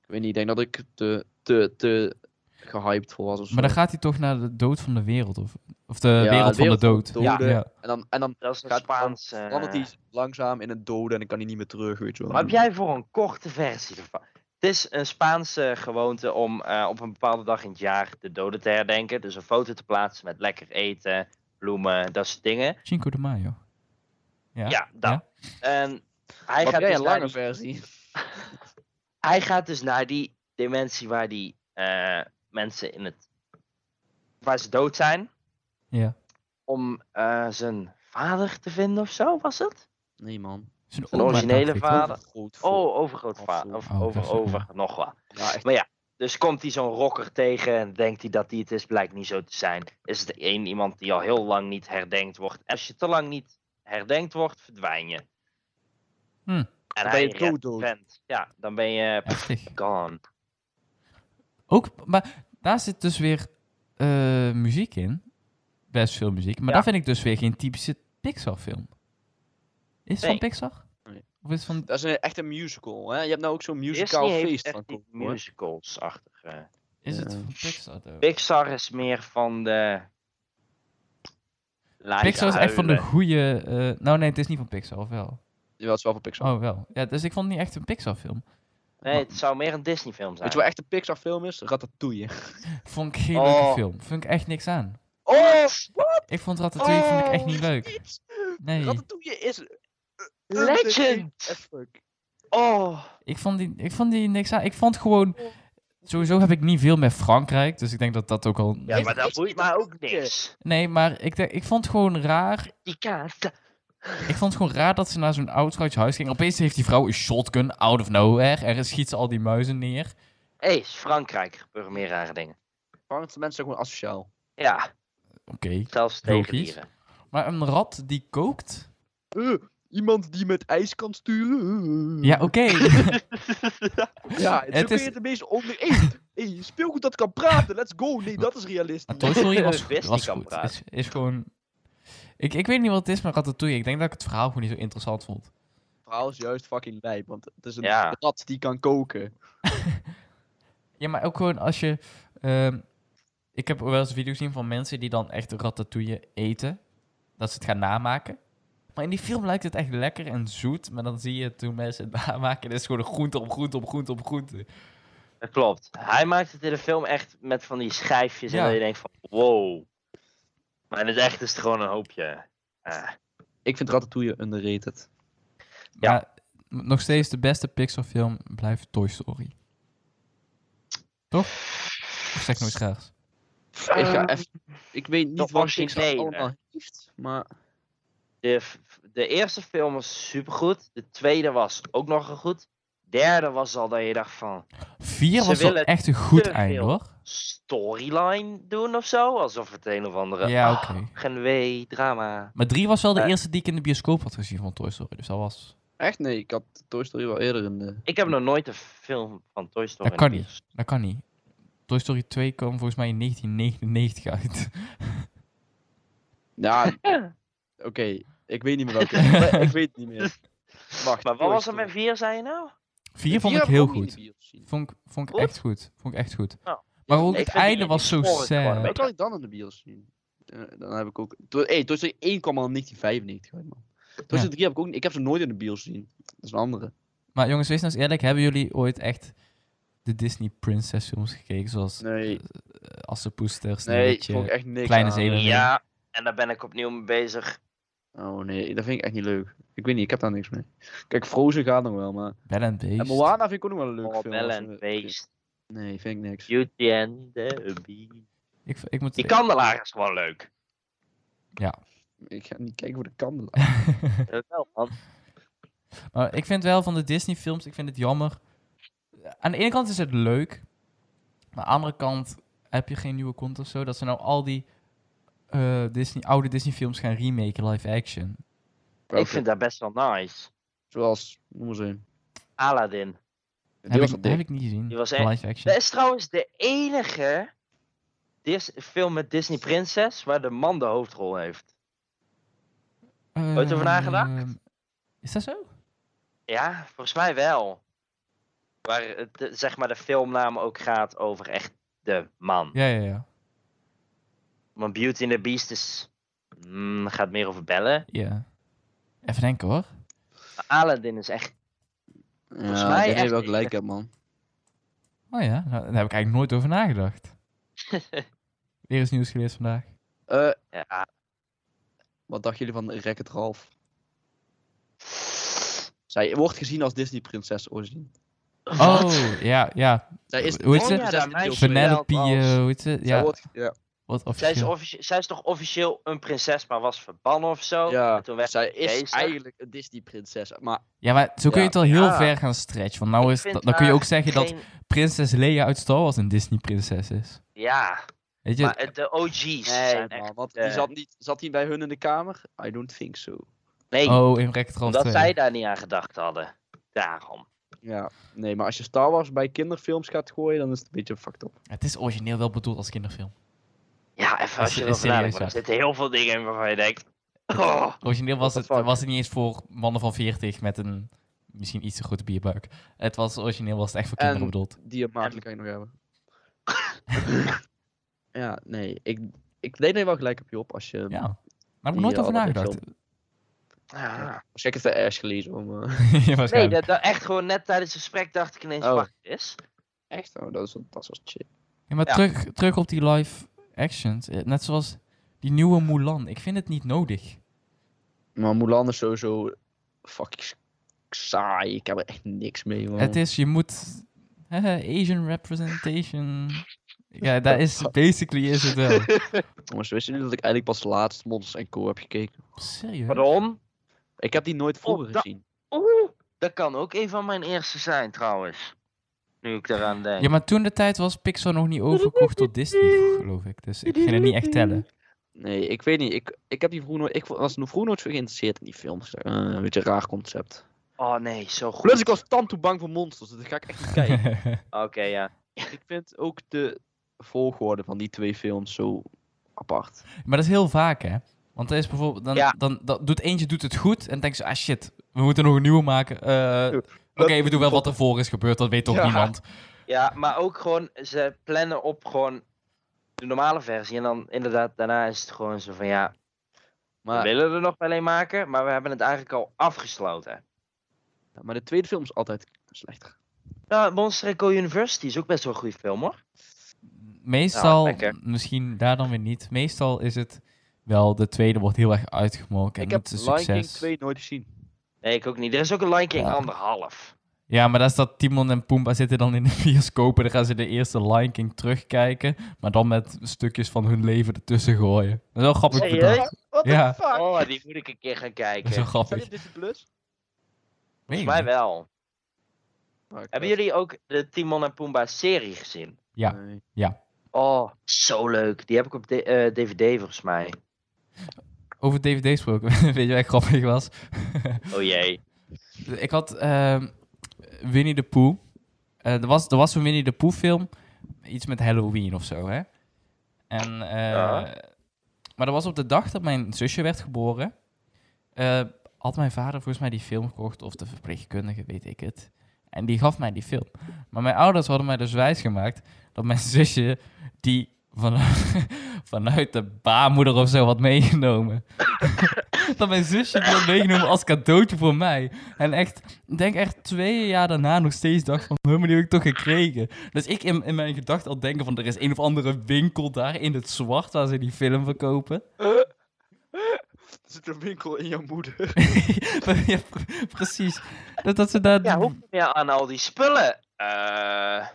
Ik weet niet, ik denk dat ik te, te, te gehyped voor was of zo.
Maar dan gaat hij toch naar de dood van de wereld. Of, of de
Ja,
wereld
de
van de
wereld van
dood.
de
Ja,
doden.
ja.
En dan, en dan
Dat is een
Gaat-
Spaanse... eh,
verandert hij langzaam in een dode en dan kan hij niet meer terug, weet je wel.
Wat heb jij voor een korte versie ervan? Het is een Spaanse gewoonte om eh, op een bepaalde dag in het jaar de doden te herdenken. Dus een foto te plaatsen met lekker eten, bloemen, dat soort dingen.
Cinco de Mayo. Ja,
Ja, dat. En hij
Wat
gaat,
heb jij
dus
een
naar
lange
die,
versie?
hij gaat dus naar die dimensie waar die eh, mensen in het. waar ze dood zijn.
Ja.
Om eh, zijn vader te vinden of zo, was het?
Nee, man.
Zijn
Een
oma
originele
dacht ik,
vader.
Goed voor-
Oh, overgrootvader. Of
Oh,
over,
dat is-
over, nog wat.
Ja, echt.
Maar ja, dus komt hij zo'n rocker tegen en denkt hij dat hij het is, blijkt niet zo te zijn. Is het één iemand die al heel lang niet herdenkt wordt. En als je te lang niet herdenkt wordt, verdwijn je.
Hm.
En
ben
hij
je
redt
dooddood.
de vent. Ja, dan ben je
toch? Heftig.
gone.
Ook, maar daar zit dus weer eh, muziek in. Best veel muziek. Maar
Ja.
dat vind ik dus weer geen typische Pixar-film. Is het van
Nee.
Pixar?
Nee.
Of is het van...
Dat is een, echt een musical, hè? Je hebt nou ook zo'n musical
Disney heeft
feest
echt
van
die
Coco, hè?
musicals-achtige.
Is
Ja.
het van Pixar? though?
Eh, Pixar is meer van de... Laat je
Pixar is echt van de
huilen.
goede... eh, nou nee, het is niet van Pixar, of wel?
Jawel, het is wel van Pixar.
Oh, wel. Ja, dus ik vond het niet echt een Pixar-film.
Nee, het zou meer een Disney-film zijn.
Weet je wat echt een Pixar film is? Ratatouille.
Vond ik geen
Oh.
leuke film. Vond ik echt niks aan.
Oh!
Ik vond Ratatouille vond ik echt niet leuk. Nee.
Ratatouille is...
Legend! Oh!
Ik vond, die, ik vond die niks aan. Ik vond gewoon... Sowieso heb ik niet veel met Frankrijk, dus ik denk dat dat ook al...
Ja, maar dat
is
boeit
niet
mij
een
ook
boekje.
niks.
Nee, maar ik, denk- ik vond het gewoon raar.
Die kaart.
Ik vond het gewoon raar dat ze naar zo'n oud vrouwtje huis ging. Opeens heeft die vrouw een shotgun, out of nowhere. Er schiet ze al die muizen neer.
Hé, is Frankrijk gebeuren meer rare dingen.
Franse mensen zijn gewoon asociaal.
Ja,
Oké.
zelfs
Logisch.
tegen dieren.
Maar een rat die kookt?
Eh, iemand die met ijs kan sturen.
Hmm.
Ja,
<laughs>
oké.
Ja,
Het
het, is... ook
is-
weer de meest onder... Hey, hey, speelgoed dat kan praten, let's go. Nee, dat is realistisch.
Maar Toy Story was,
Wist die
was
kan
goed.
praten.
Is, is gewoon... Ik, ik weet niet wat het is met Ratatouille. Ik denk dat ik het verhaal gewoon niet zo interessant vond.
verhaal is juist fucking lijp. Want het is een
Ja.
rat die kan koken.
Ja, maar ook gewoon als je... ehm, ik heb wel eens video's gezien van mensen die dan echt ratatouille eten. Dat ze het gaan namaken. Maar in die film lijkt het echt lekker en zoet. Maar dan zie je toen mensen het <laughs> namaken. Het is gewoon een groente op groente op groente op groente.
Dat klopt. Hij maakt het in de film echt met van die schijfjes.
Ja.
En dat je denkt van, wow. Maar in het echt is het gewoon een hoopje. Ah.
Ik vind Ratatouille underrated.
Ja.
Maar nog steeds de beste Pixar film blijft Toy Story. Toch? Of zeg ik nou nooit graag.
ik, ga even, ik weet niet
Ehm, dat
wat
was je
Pixar
idee, hè?
allemaal heeft. Maar
De, f- de eerste film was supergoed. De tweede was ook nog goed. Derde was al dat je dacht van
Vier
Ze
was wel
willen
echt een goed
te
eind,
veel.
hoor.
storyline doen of zo. Alsof het een of andere.
Ja,
Ah,
oké.
Geen wee, drama.
Maar drie was wel de
Eh.
eerste die ik in de bioscoop had gezien van Toy Story. Dus dat was...
echt nee, ik had Toy Story wel eerder in de...
Ik heb nog nooit een film van Toy Story.
Dat kan
gezien.
Dat kan niet. Toy Story 2 kwam volgens mij in 1999 uit. <laughs>
Ja,
<laughs>
oké. Ik weet niet meer welke. <laughs> ik weet het niet meer. Wacht,
Maar
Toy
wat was er
Story.
met vier, zei je nou?
Vier vond
Die
ik
heb
heel
ook in de
goed.
bios gezien.
Vond ik, vond ik
Goed?
echt goed. Vond ik echt goed.
Nou,
Maar ook
ik
het
vind die-
einde was
die
zo
scoren gewoon een
sad.
beetje.
Wat kan ik dan in de bios zien? Eh, dan heb ik ook... To- hey, Toy Story 1 kwam al in 1995 uit, man. Toy Story
Ja.
3 heb ik ook niet... Ik heb ze nooit in de bios gezien. Dat is een andere.
Maar jongens, wees nou eens eerlijk. Hebben jullie ooit echt de Disney Princess films gekeken? Zoals
Nee,
eh, Assepoester,
nee,
Sneeuwwitje?
vond ik echt niks
Kleine
aan.
Zeven.
Ja, en daar ben ik opnieuw mee bezig.
Oh nee, dat vind ik echt niet leuk. Ik weet niet, ik heb daar niks mee. Kijk, Frozen gaat nog wel, maar...
Bell and
En
Beast.
Moana vind ik ook nog wel een leuk eh,
Oh,
film.
Belle
als
en
we-
Beast,
Nee, vind ik niks.
Beauty and the Beast.
Ik, ik moet... <laughs>
Die kandelaar is gewoon leuk.
Ik ga niet kijken voor de
<laughs>
kandelaar.
Dat Eh, wel, man.
Maar ik vind wel van de Disney films, ik vind het jammer. Aan de ene kant is het leuk. Maar aan de andere kant heb je geen nieuwe kont of zo. Dat ze nou al die eh, Disney, oude Disney films gaan remaken, live action.
Ik vind dat best wel nice.
Zoals, noem maar zo.
Aladdin.
Heb ik,
al
heb
dik.
ik niet gezien.
Die was
de
echt-
live action.
Dat is trouwens de enige Dis film met Disney Princess waar de man de hoofdrol heeft. ooit over nagedacht?
Ehm, Is dat zo?
Ja, volgens mij wel. Waar het, de- zeg maar de filmnaam ook gaat over echt de man.
Ja, ja, ja.
Want Beauty and the Beast is, mm, gaat meer over bellen.
ja. Even denken hoor.
Maar Aladdin is echt... Volgens
Ja,
mij
ik
echt
weet wel
niet.
gelijk heb, man.
Oh ja, nou, daar heb ik eigenlijk nooit over
<laughs>
nagedacht. Weer eens nieuws geleerd vandaag.
Eh,
Ja.
wat dachten jullie van Wreck-It Ralph? Zij wordt gezien als Disney-prinses oorzien.
Oh, ja, ja.
Zij is
Hoe heet
de
ze?
prinses
Oh ja,
in
dat
deel
meisje.
twee.
Penelope,
als-
eh, hoe heet ze?
Zij
Ja,
wordt, ja.
wat
Zij is,
officieel.
officie- zij is toch officieel een prinses, maar was verbannen of zo?
Ja,
En toen werd
zij is
bezig.
eigenlijk een Disney-prinses. Maar
Ja, maar zo kun je
Ja.
het al heel
Ja.
ver gaan stretchen. Want nou
Ik
is,
vind
dat- dan kun je
haar
ook zeggen dat
geen-
prinses Leia uit Star Wars een Disney-prinses is.
Ja,
Weet je?
maar eh, de OG's
nee,
zijn echt...
man, want
eh,
die zat, niet, zat hij bij hun in de kamer? I don't think so.
Nee,
oh, in Wreck-It Ralph
omdat
2.
zij daar niet aan gedacht hadden. Daarom.
Ja, nee, maar als je Star Wars bij kinderfilms gaat gooien, dan is het een beetje fucked up.
Het is origineel wel bedoeld als kinderfilm.
Ja, even
Dat is-
als je
is
erover nadenkt.
serieus,
want Er
ja.
zitten heel veel dingen in waarvan je denkt... Oh,
Origineel was
What the
het,
fuck?
was het niet eens voor mannen van 40 met een misschien iets te grote bierbuik. Het was origineel was het echt voor kinderen
Ehm,
En-
bedoeld.
Die maatje kan je nog hebben. <laughs> ja, nee, ik, ik denk dat je wel gelijk hebt, Job, als
ehm,
je...
Ja. Maar daar heb ik
die,
nooit
eh,
over
alle
nagedacht.
ah.
Als ik het de Ash gelezen om...
<laughs>
eh,
Ja,
Nee,
waarschijnlijk.
dat, dat echt gewoon net tijdens het gesprek dacht ik ineens...
Oh.
Wacht eens.
<laughs> Echt? Oh, dat is, dat is wel chill.
Ja, maar
Ja.
Terug, terug op die live actions. Eh, Net zoals die nieuwe Mulan. Ik vind het niet nodig.
Maar Mulan is sowieso fucking s- saai. Ik heb er echt niks mee, man.
Het is, je moet... eh, Asian representation.
<laughs>
Ja, dat is... Basically is het wel.
Jongens, wisten jullie dat ik eigenlijk pas laatst Monsters Co. heb gekeken?
Serieus?
<laughs> Waarom?
Ik heb die nooit vroeger
dat-
gezien.
Oeh, dat kan ook een van mijn eerste zijn trouwens. Nu ik daaraan denk.
Ja, maar toen de tijd was Pixar nog niet overgekocht door Disney, geloof ik. Dus ik ging het niet echt tellen.
Nee, ik weet niet. Ik, ik, heb die vroeger, nooit- ik was nog vroeger nooit zo geïnteresseerd in die films. Eh, een beetje een raar concept.
Oh nee, zo goed.
Plus ik was tanto bang voor monsters, dus dat ga ik echt niet
<laughs>
kijken.
Oké, ja.
ik vind ook de volgorde van die twee films zo apart.
maar dat is heel vaak, hè? Want er is bijvoorbeeld, dan,
Ja.
dan, dat doet eentje doet het goed en denkt ze, ah shit, We moeten nog een nieuwe maken. Eh,
Doe.
Oké, we doen wel wat ervoor is gebeurd. Dat weet toch
Ja.
niemand.
Ja, maar ook gewoon, ze plannen op gewoon de normale versie. En dan inderdaad, daarna is het gewoon zo van ja, we
Maar,
willen er nog wel een maken, maar we hebben het eigenlijk al afgesloten.
maar de tweede film is altijd slechter.
Nou, Monster Co University is ook best wel een goede film hoor.
Meestal,
Ja, lekker.
misschien daar dan weer niet. Meestal is het wel, de tweede wordt heel erg uitgemolken.
ik
en
heb
het is een
Lion King
succes.
2 nooit gezien.
Nee, ik ook niet. Er is ook een Lion King
Ja.
anderhalf.
Ja, maar dat is dat Timon en Pumbaa zitten dan in de <laughs> bioscoop en dan gaan ze de eerste Lion King terugkijken, maar dan met stukjes van hun leven ertussen gooien. Dat is wel grappig bedacht.
Serieus? What the
Ja.
fuck? Oh, die moet ik een keer gaan
Dat is wel
kijken.
Zijn
grappig.
dit Disney Plus?
Weet ik
Volgens mij
niet.
wel.
Oh, ik
Hebben
weet-
jullie ook de Timon en Pumbaa serie gezien?
Ja.
Nee.
Oh, zo leuk. Die heb ik op d- eh, DVD volgens mij.
Over DVD gesproken, <laughs> weet je wat echt grappig was?
Oh jee.
Ik had ehm, Winnie the Pooh. Eh, er, was, er was een Winnie the Pooh film. Iets met Halloween of zo, hè? En, eh,
Ja.
Maar dat was op de dag dat mijn zusje werd geboren. eh, had mijn vader volgens mij die film gekocht. Of de verpleegkundige, weet ik het. En die gaf mij die film. Maar mijn ouders hadden mij dus wijsgemaakt... dat mijn zusje die vanuit, <laughs> vanuit de baarmoeder of zo had meegenomen. <laughs> dat mijn zusje die had meegenomen als cadeautje voor mij. En echt, ik denk echt twee jaar daarna nog steeds dacht van... "Huh, maar die heb ik toch gekregen? Dus ik in, in mijn gedachten al denken van... er is een of andere winkel daar in het zwart... waar ze die film
<laughs>
verkopen.
Er zit een winkel in jouw moeder.
ja, pre- precies. Dat, dat ze daar...
Ja, hoe kom je aan al die spullen? Eh,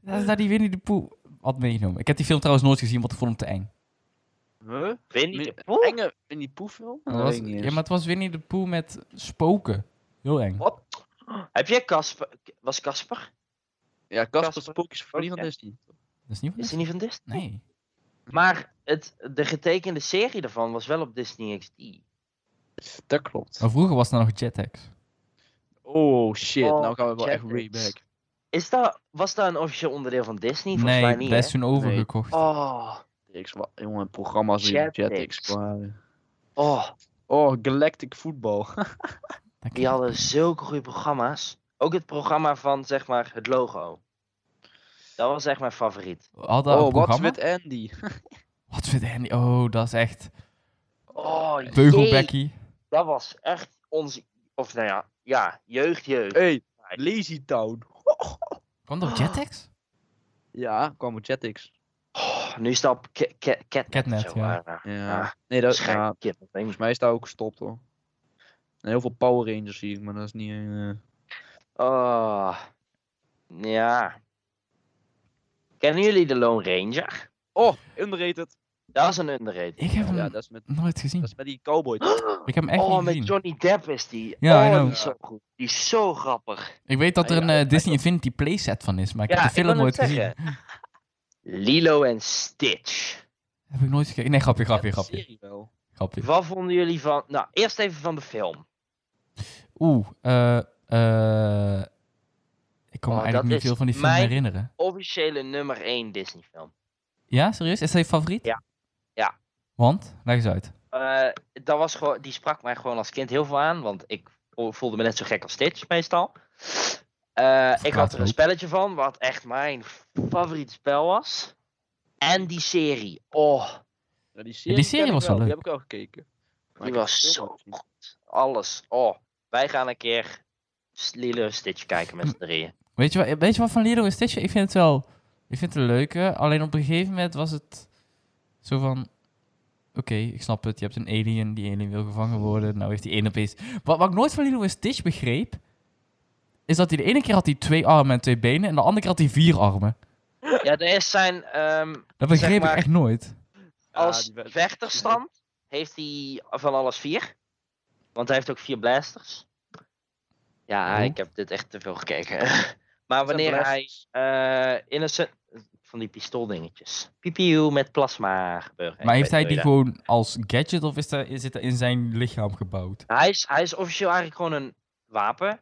Dat ze daar die Winnie de Pooh had meegenomen. Ik heb die film trouwens nooit gezien, want ik vond hem te eng.
Huh?
Winnie
Min-
de Pooh?
Enge in die poeffilm?
Dat was- ja, maar het was Winnie de Pooh met spoken. Heel eng.
Wat?
Heb jij Casper? Was Casper?
Ja, Casper Oh,
Casper.
Spookjes van niet van
Oké.
Disney.
Dat is niet
Is
wat
hij niet van Disney?
Nee.
Maar het, de getekende serie daarvan was wel op Disney XD.
Dat klopt.
Maar vroeger was er nog Jetix.
Oh shit,
Oh,
nou gaan we wel echt
Jetix.
way back.
Is dat, was dat een officieel onderdeel van Disney? Volgens mij
Nee,
niet.
dat is
Best...
toen overgekocht.
Oh,
Jetix, wa- jongen, programma's die op Jetix
Jetix.
kwamen.
oh,
Oh, Galactic Football.
Dat
die hadden zulke goede programma's. Ook het programma van zeg maar het logo. Dat was echt mijn favoriet.
Hadden al
oh,
een
What's
programma?
with Andy?
Wat vindt Andy? Oh, dat is echt...
Oh, jee,
Beugelbekkie.
Dat was echt onze. Of nou ja, ja, jeugd, jeugd.
Hey, Lazy Town.
Kwam
Ah.
dat op Jetix?
Ja, kwam op Jetix.
Oh, nu is dat op Ca- Ca- Catnet.
Catnet,
zo,
ja.
maar, eh,
Ja. Nee, dat
schijn-
ja,
kip, dat ding.
volgens mij is dat ook gestopt hoor. En heel veel Power Rangers zie ik, maar dat is niet... eh,
Oh. Ja. Kennen jullie de Lone Ranger?
Oh, underrated.
Dat is een underrated.
Ik heb hem
Ja, dat is met,
nooit gezien.
dat is met die
<gasps>
cowboy.
Ik heb hem echt
oh,
niet
met
gezien.
Johnny Depp is die.
Ja, I
oh,
know.
die is zo goed. Die is zo grappig.
Ik weet dat er
Ja,
een
ja,
eh,
ja,
Disney Infinity playset van is, maar ik
Ja,
heb de
ik
film
wou
nooit
net
gezien.
zeggen. Lilo en Stitch.
Heb ik nooit gekeken. Nee, grapje, grapje,
Ja, de
grapje.
serie wel.
grapje.
Wat vonden jullie van... Nou, eerst even van de film.
Oeh, eh, eh, ik kan me
Oh,
eigenlijk
dat
niet
is
veel van die film
mijn-
herinneren.
Officiële nummer 1 Disney film.
Ja, serieus? Is dat je favoriet?
Ja. Ja.
Want? Leg eens uit.
Eh, dat was gewoon, die sprak mij gewoon als kind heel veel aan, want ik voelde me net zo gek als Stitch meestal. Eh, ik had er
ook.
een spelletje van, wat echt mijn favoriet spel was. En die serie. Oh,
Ja, die
die
serie,
serie
ken ik
was wel
Die
leuk.
heb ik wel gekeken. Maar
die
ik heb
was
de film
zo
nooit gezien.
goed. Alles. Oh, wij gaan een keer S- Lilo en Stitch kijken met z'n drieën.
Weet je, wat, weet je wat van Lilo en Stitch? Ik vind het wel... Ik vind het een leuke. Alleen op een gegeven moment was het zo van... Oké, ik snap het. Je hebt een alien. Die alien wil gevangen worden. Nou heeft die ene opeens... Wat, wat ik nooit van Lilo en Stitch begreep... Is dat hij de ene keer had hij twee armen en twee benen. En de andere keer had hij vier armen.
Ja, er is zijn... ehm,
Dat begreep
Zeg maar-
ik echt nooit.
Ja,
als
die werd-
vechterstand heeft hij van alles vier. Want hij heeft ook vier blasters. Ja,
Oh.
ik heb dit echt te veel gekeken. <laughs> maar
Zijn
wanneer hij
blasters.
eh innocent... Van die pistooldingetjes. Pipiu met plasma gebeuren. Ik
Maar
weet
heeft hij
niet
die
hoe je
gewoon als gadget of is dat, is het in zijn lichaam gebouwd?
dat- Hij is, hij is officieel eigenlijk gewoon een wapen.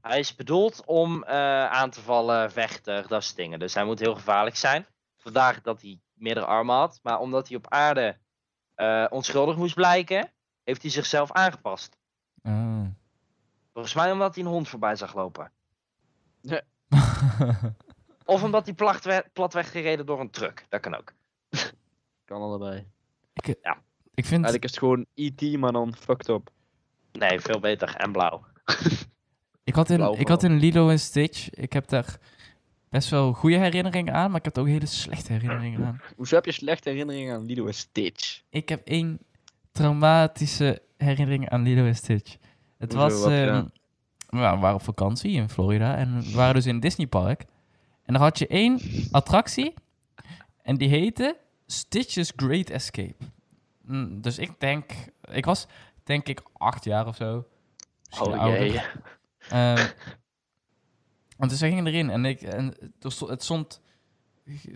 Hij is bedoeld om eh, aan te vallen, vechten, dat soort dingen. Dus hij moet heel gevaarlijk zijn. Vandaar dat hij meerdere armen had. Maar omdat hij op aarde eh, onschuldig moest blijken, heeft hij zichzelf aangepast.
Ah.
Volgens mij omdat hij een hond voorbij zag lopen. Of omdat hij placht werd- plat werd gereden door een truck. Dat kan ook.
Kan allebei.
<laughs> ik vind...
Eigenlijk is het gewoon E.T., maar dan fucked up.
Nee, veel beter. En blauw.
Ik had,
Blauw
in, ik had
vooral.
in Lilo en Stitch, ik heb daar best wel goede herinneringen aan, maar ik heb er ook hele slechte herinneringen aan.
Hoezo heb je slechte herinneringen aan Lido en Stitch?
Ik heb één traumatische herinnering aan Lilo en Stitch. Het
Hoezo,
was,
wat
ehm,
gedaan?
we waren- we waren op vakantie in Florida en we waren dus in een Disneypark. En daar had je één attractie en die heette Stitch's Great Escape. Mm, Dus ik denk, ik was denk ik acht jaar of zo. Misschien
Oh
ouder.
jee.
Ehm, want dus wij gingen erin en, ik, en er sto- het stond,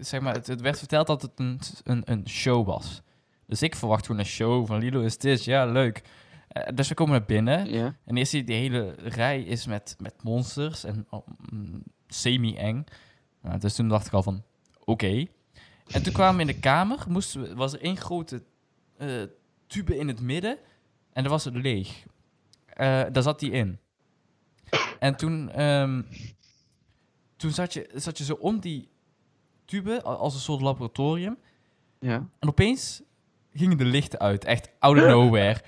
zeg maar, het, het werd verteld dat het een, een, een show was. Dus ik verwacht gewoon een show van Lilo is dit, ja leuk. Eh, dus we komen naar binnen
Ja.
en eerst zie je die hele rij is met, met monsters en oh, mm, semi-eng. Nou, dus toen dacht ik al van, oké. En toen kwamen we in de kamer, moesten we, was er één grote eh, tube in het midden en dat was het leeg. Eh, daar zat die in. En toen, ehm, toen zat, je, zat je zo om die tube a- als een soort laboratorium.
Ja.
En opeens gingen de lichten uit, echt out of nowhere.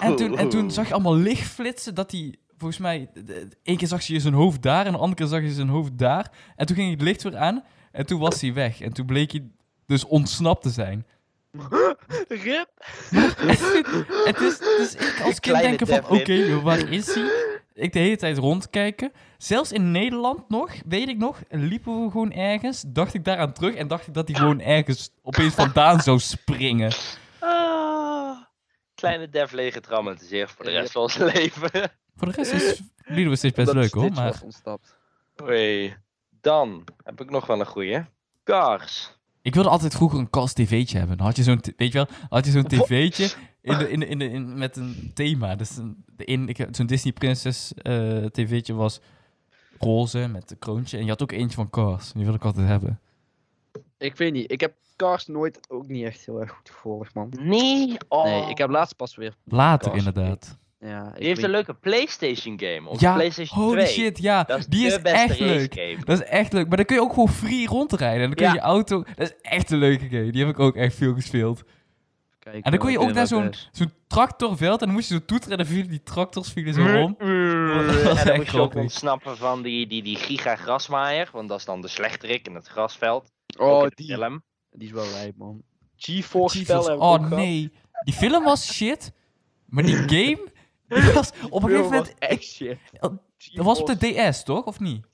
En toen, en toen zag je allemaal licht flitsen dat hij, volgens mij, de- de- één keer zag je zijn hoofd daar en de andere keer zag je zijn hoofd daar. En toen ging het licht weer aan en toen was hij weg. En toen bleek hij dus ontsnapt te zijn. <laughs>
Rip!
Het is, dus ik als kind
Kleine
denken van, oké,
Devlin.
joh, waar is hij? Ik de hele tijd rondkijken. Zelfs in Nederland nog, weet ik nog, liepen we gewoon ergens. Dacht ik daaraan terug en dacht ik dat hij gewoon ergens opeens vandaan zou springen.
Ah. Kleine dev lege traumatiseren voor de rest van ons leven.
Voor de rest is Lido steeds best leuk hoor, maar...
was ontsnapt.
Hoi. Dan heb ik nog wel een goeie. Cars.
Ik wilde altijd vroeger een kast tv'tje hebben. Dan had je zo'n, t- weet je wel, had je zo'n tv'tje in de, in de, in de, in- met een thema. Dus een, de in, ik, zo'n Disney Princess eh, tv'tje was roze met een kroontje. En je had ook eentje van Cars. Die wilde ik altijd hebben.
Ik weet niet, ik heb Cars nooit ook niet echt heel erg goed gevolgd, man.
Nee. Oh.
Nee, ik heb laatst pas weer.
Later
Cars,
inderdaad.
Ja, ik
Die heeft
weet-
een leuke PlayStation game. Of
Ja,
PlayStation
Holy
2.
shit, ja.
Dat is
die
de
is
beste
echt
race
leuk.
game.
Dat is echt leuk. Maar dan kun je ook gewoon free rondrijden. En dan kun je
Ja.
je auto... Dat is echt een leuke game. Die heb ik ook echt veel gespeeld.
Kijken
En dan kon je
welke
ook naar
dat
zo'n,
eh, is.
zo'n tractorveld. En dan moest je zo toeteren. En dan vielen die tractors vielen zo om.
En
echt
dan moet je ook
grappig.
ontsnappen van die, die, die giga grasmaaier. Want dat is dan de slechterik in het grasveld. Ook
Oh,
in de
die,
film.
die is wel lijp, man. G-Force spel
G-Force.
hebben we ook
Oh
gehad.
nee, die film was shit, maar die game die was op een
Film
gegeven moment.
was echt <laughs> shit.
Dat Dat was op de DS toch, of niet?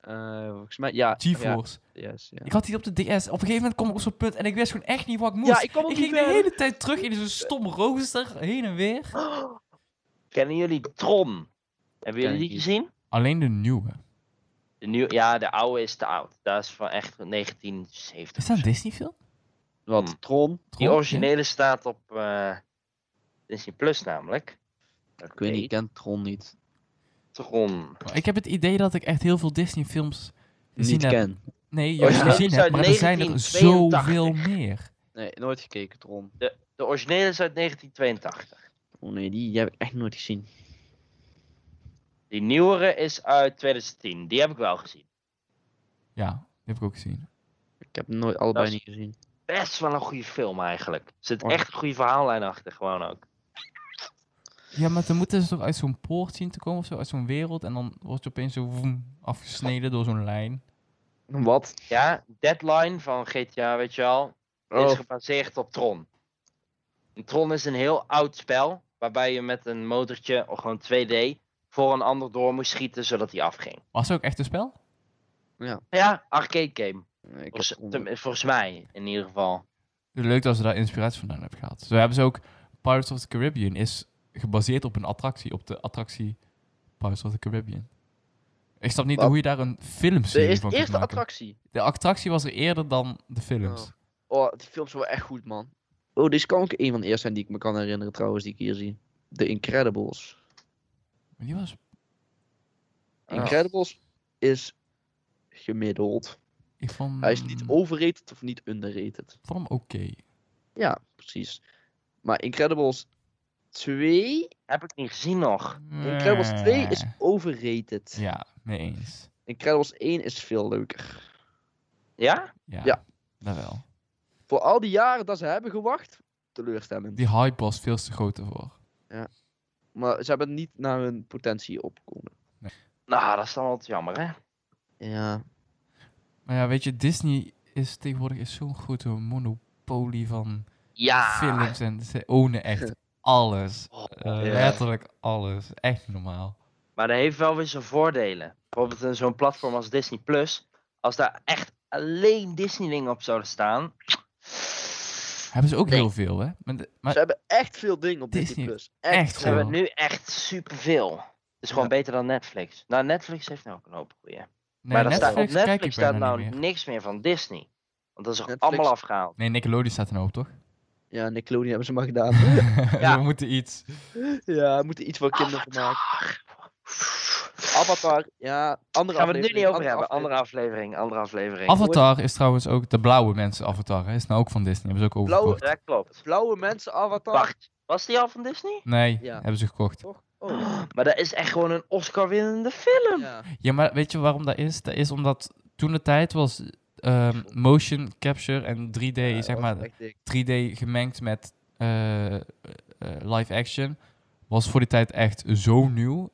Eh, volgens mij, ja.
GeForce.
Ja, yes, ja.
Ik had die op de DS. Op een gegeven moment kwam ik op zo'n punt en ik wist gewoon echt niet wat ik moest.
Ja, ik kwam ook
ik
niet
ging de
verder.
hele tijd terug in zo'n stom rooster, heen en weer.
<gasps> Kennen jullie Tron? Hebben jullie
Ken ik
die
niet.
gezien?
Alleen de nieuwe.
De nieuw, ja, de oude is te oud. Dat is van echt 1970.
Is dat een Disney-film?
Wat? Tron?
Die originele staat op eh, Disney Plus namelijk.
Ik weet niet, ik ken Tron niet.
Tron.
Ik heb het idee dat ik echt heel veel Disney-films gezien
niet
heb.
ken.
Nee,
Oh,
juist
ja.
gezien
Die is
heb,
uit
maar er zijn er
1982.
zoveel meer.
Nee, nooit gekeken, Tron.
De, de originele is uit 1982.
Oh nee, die heb ik echt nooit gezien.
Die nieuwere is uit 2010. Die heb ik wel gezien.
Ja, die heb ik ook gezien.
Ik heb hem nooit allebei
Dat is-
niet gezien.
Best wel een goede film eigenlijk. Er zit
Oh.
echt een goede verhaallijn achter gewoon ook.
Ja, maar dan moeten ze toch uit zo'n poort zien te komen of zo, uit zo'n wereld. En dan wordt je opeens zo woem, afgesneden door zo'n lijn.
Wat?
Ja, Deadline van GTA, weet je wel, is
Oh,
gebaseerd op Tron. En Tron is een heel oud spel, waarbij je met een motortje, of gewoon 2D, voor een ander door moest schieten, zodat hij afging.
Was het ook echt een spel?
Ja, arcade game.
nee, ik heb
Volgens,
Tron.
tem- volgens mij, in ieder geval.
Leuk dat ze daar inspiratie vandaan hebben gehaald. Zo hebben ze ook Pirates of the Caribbean is gebaseerd op een attractie, op de attractie Pirates of the Caribbean. Ik snap niet
Wat?
hoe je daar een
Dit
filmserie
is de
van kunt
eerste
maken.
attractie.
de attractie was er eerder dan de films.
Oh. Oh, die films waren echt goed, man. Oh, deze kan ook een van de eerste zijn die ik me kan herinneren, trouwens, die ik hier zie. The Incredibles.
Maar die was... Ah.
Incredibles is gemiddeld.
Ik vond,
Hij is niet overrated of niet underrated.
vond hem oké.
Ja, precies. Maar Incredibles 2
Heb ik niet gezien nog.
Incredibles 2 is overrated.
Eh. Ja, mee eens.
Incredibles 1 is veel leuker.
Ja?
Ja,
Ja.
dat wel.
Voor al die jaren dat ze hebben gewacht, teleurstellend.
Die hype was veel te groot ervoor.
Maar ze hebben niet naar hun potentie opgekomen.
Nou, dat is dan wel jammer, hè?
Ja.
Maar ja, weet je, Disney is tegenwoordig is zo'n grote monopolie van
Ja.
films. En ze ownen echt
<laughs>
alles.
Oh,
Eh,
ja.
Letterlijk alles. Echt niet normaal.
Maar dat heeft wel weer zijn voordelen. Bijvoorbeeld in zo'n platform als Disney Plus. Als daar echt alleen Disney dingen op zouden staan.
Hebben ze ook
Nee.
heel veel, hè? Maar, de- maar
Ze hebben echt veel dingen op Disney+.
Disney,
Plus.
echt
Ze hebben nu echt superveel. Het is gewoon beter dan Netflix. Nou, Netflix heeft nou ook een hoop goeie.
nee,
maar dat staat, op
Netflix,
Netflix
kijk ik
staat
bijna
nou
niet meer.
niks meer van Disney. Want dat is er
Netflix-
allemaal afgehaald.
Nee, Nickelodeon staat er nou op,
<laughs>
toch?
Ja, Nickelodeon hebben ze maar gedaan. <laughs>
<laughs> We moeten iets...
ja, we moeten iets voor kinderen van maken. Avatar, ja, andere
Gaan we het nu
aflevering,
niet over
andere
hebben. Andere aflevering,
aflevering.
andere aflevering.
Avatar is trouwens ook... De blauwe mensen Avatar, hè? Is nou ook van Disney. Hebben ze ook
Blauwe-
overgekocht.
Dat klopt.
Blauwe mensen Avatar.
Wacht, was die al van Disney?
Nee,
Ja.
hebben ze gekocht.
Toch? Oh,
Maar dat is echt gewoon een Oscar-winnende film.
ja.
Ja, maar weet je waarom dat is? Dat is omdat toen de tijd was ehm, motion capture en 3D,
Eh,
Ja,
zeg
was
maar,
echt dik.
3D gemengd met eh, eh, live action, was voor die tijd echt zo nieuw.
Maar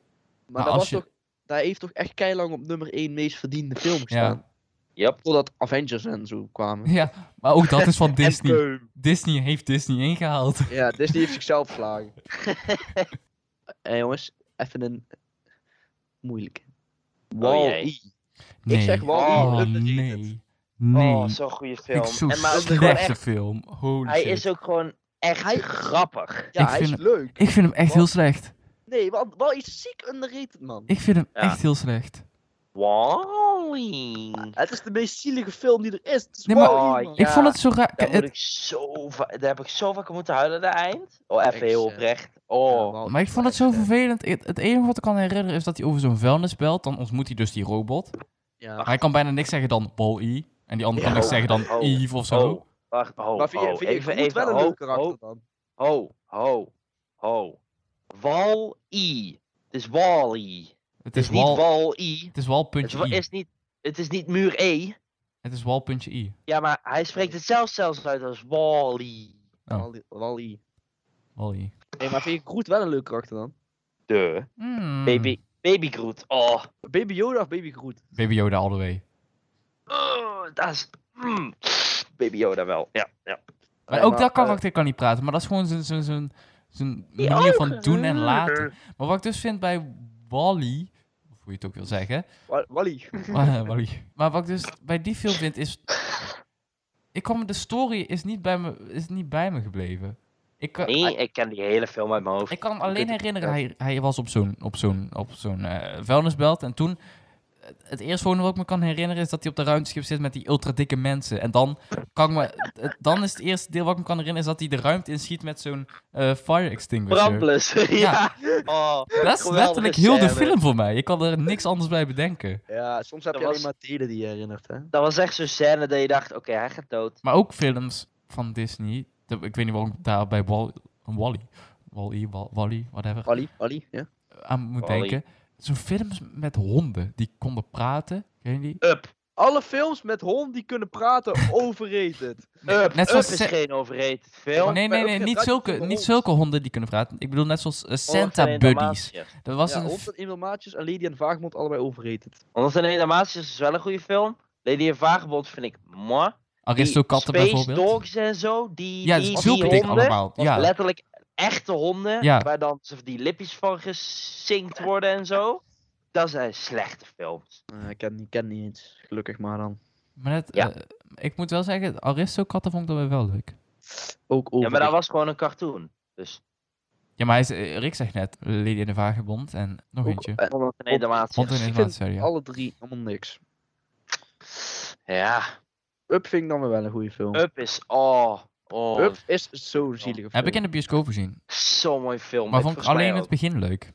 Maar
dat,
Nou, als
was
je-
toch, dat heeft toch echt keilang op nummer 1 meest verdiende film gestaan.
Ja.
Yep.
Totdat Avengers en zo
<laughs>
kwamen.
Ja, maar ook dat is
<laughs>
van Disney.
Endgame.
Disney heeft Disney ingehaald.
Ja, Disney heeft zichzelf verslagen. <laughs> Hé jongens, even een moeilijke.
Oh
Wow.
jee.
Nee.
zeg wel,
oh,
underrated.
nee. Nee.
Oh, zo'n goede
Vind
film.
ik zo'n
En maar ook gewoon
slechte
echt-
film. Holy
hij
shit.
is ook gewoon echt
Hij-
grappig.
ja,
ik
hij
vind-
is leuk.
Ik vind hem echt
Wat?
heel slecht.
Nee, wel, wel iets ziek underrated, man.
Ik vind hem
Ja.
echt heel slecht.
Wally.
Het is de meest zielige film die er is. Het is
Nee, maar-
Wall-E, man.
Ja,
Ik vond het zo raar.
Daar,
het-
moet ik zo va- daar heb ik zo vaak om moeten huilen aan het eind. Oh, even
Ik
heel
eh.
zeg-
oprecht. Oh,
Wall-E,
Maar ik vond het zo
echt, hè.
vervelend. Het, het enige wat ik kan herinneren is dat hij over zo'n vuilnis belt. Dan ontmoet hij dus die robot. Maar
Ja.
hij kan bijna niks zeggen dan Wall-E. En die ander kan
Ja.
niks zeggen dan
Oh.
Eve of zo.
oh. Wacht, ho,
Maar vind je,
ho,
vind je
even,
Groot
even,
wel een
ho,
leuk
oh,
karakter
ho,
dan?
ho, ho, ho. Wall-E. Het is Wall-E.
het
Het is
is
niet
wal,
Wall-E.
het is
Het
wal.i.
wa- is niet, het is niet muur E.
Het is wal.i.
Ja, maar hij spreekt het zelf zelfs uit als Wall-E.
Oh.
Wall-E- Wall-E.
Wall-E.
Nee, maar vind je Groot wel een leuk karakter dan?
De.
Mm.
Baby, baby Groot. Oh.
Baby Yoda of Baby Groot?
Baby Yoda all the way.
Oh, dat is. mm. Baby Yoda wel. Ja, ja.
Maar
Nee,
ook dat
eh,
karakter kan niet praten. Maar dat is gewoon zijn- zijn- zijn zijn manier van doen
Hmm.
en laten. Maar wat ik dus vind bij Wall-E... Of hoe je het ook wil zeggen. <laughs>
Wa- Wall-E.
Maar, maar, maar wat ik dus bij die film vind is. Ik kwam, de story is niet, bij me, is niet bij me gebleven. Ik eh, kan,
Nee, ik ken die hele film uit mijn hoofd.
ik kan me alleen herinneren, hij, hij was op zo'n op zo'n op zo'n eh, vuilnisbelt. En toen. Het eerste volgende wat ik me kan herinneren is dat hij op de ruimteschip zit met die ultra dikke mensen. En dan, kan ik me, het- dan is het eerste deel wat ik me kan herinneren is dat hij de ruimte inschiet met zo'n eh, fire extinguisher.
Brandblus. <laughs> ja.
Ja.
Oh,
Dat is
Geweldige
letterlijk heel de
scène.
film voor mij. Ik kan er niks anders bij bedenken.
Ja, soms heb
Dat
je
was-
alleen maar delen die je herinnert, hè?
dat was echt zo'n scène dat je dacht: oké, hij gaat dood.
Maar ook films van Disney. De- Ik weet niet waarom ik daar bij Wall- Wall-E, Wall-E, Wall- Wall-E, whatever,
Wally, Wally, ja.
aan moet
Wall-E.
denken. Zo'n films met honden die konden praten. Ken je die?
Up.
Alle films met honden die kunnen praten, overrated.
Up.
net
Up
zoals
is
Sa-
geen overrated film.
Nee,
maar
nee,
ook
nee,
geen
niet
ratjes
zulke,
zonder
niet
hond.
zulke honden die kunnen praten. Ik bedoel net zoals eh, Santa
Honderd en een
Buddies.
Dalmatiërs.
Dat was
ja,
een...
Hond en Emil Maatjes en Lady en Vaagmond allebei overrated.
Honderd en een Dalmatiërs is wel een goede film. Lady en Vagebond vind ik mooi.
Aristokatten
Space
ah, bijvoorbeeld.
Dogs en zo. Die,
ja,
die,
zulke
die
dingen
honden.
allemaal.
was
Ja,
Letterlijk echte honden.
Ja.
Waar dan ze die lipjes van gesinkt worden en zo. Dat zijn slechte films.
Eh, ik ken, ik ken niet eens, gelukkig maar dan.
maar net,
Ja.
eh, ik moet wel zeggen, Aristokatten vond ik dan wel leuk.
Ook overrated.
Ja, maar dat was gewoon een cartoon. Dus
Ja, maar hij is, eh, Rick zegt net, Lady in de Vagebond en nog
Ook-
eentje.
eh,
Honderd en een Dalmatiërs.
Hond in
ik
de
vind
Vagebond, ja.
alle drie allemaal niks.
Ja,
Up vind ik dan weer wel een goede film. Up,
Up is. Oh, oh.
is zo'n zielige film.
Heb
<laughs>
ik in de bioscoop gezien.
Zo'n mooi film.
Maar
Het-
vond ik
volgens mij
alleen het
ook.
begin leuk.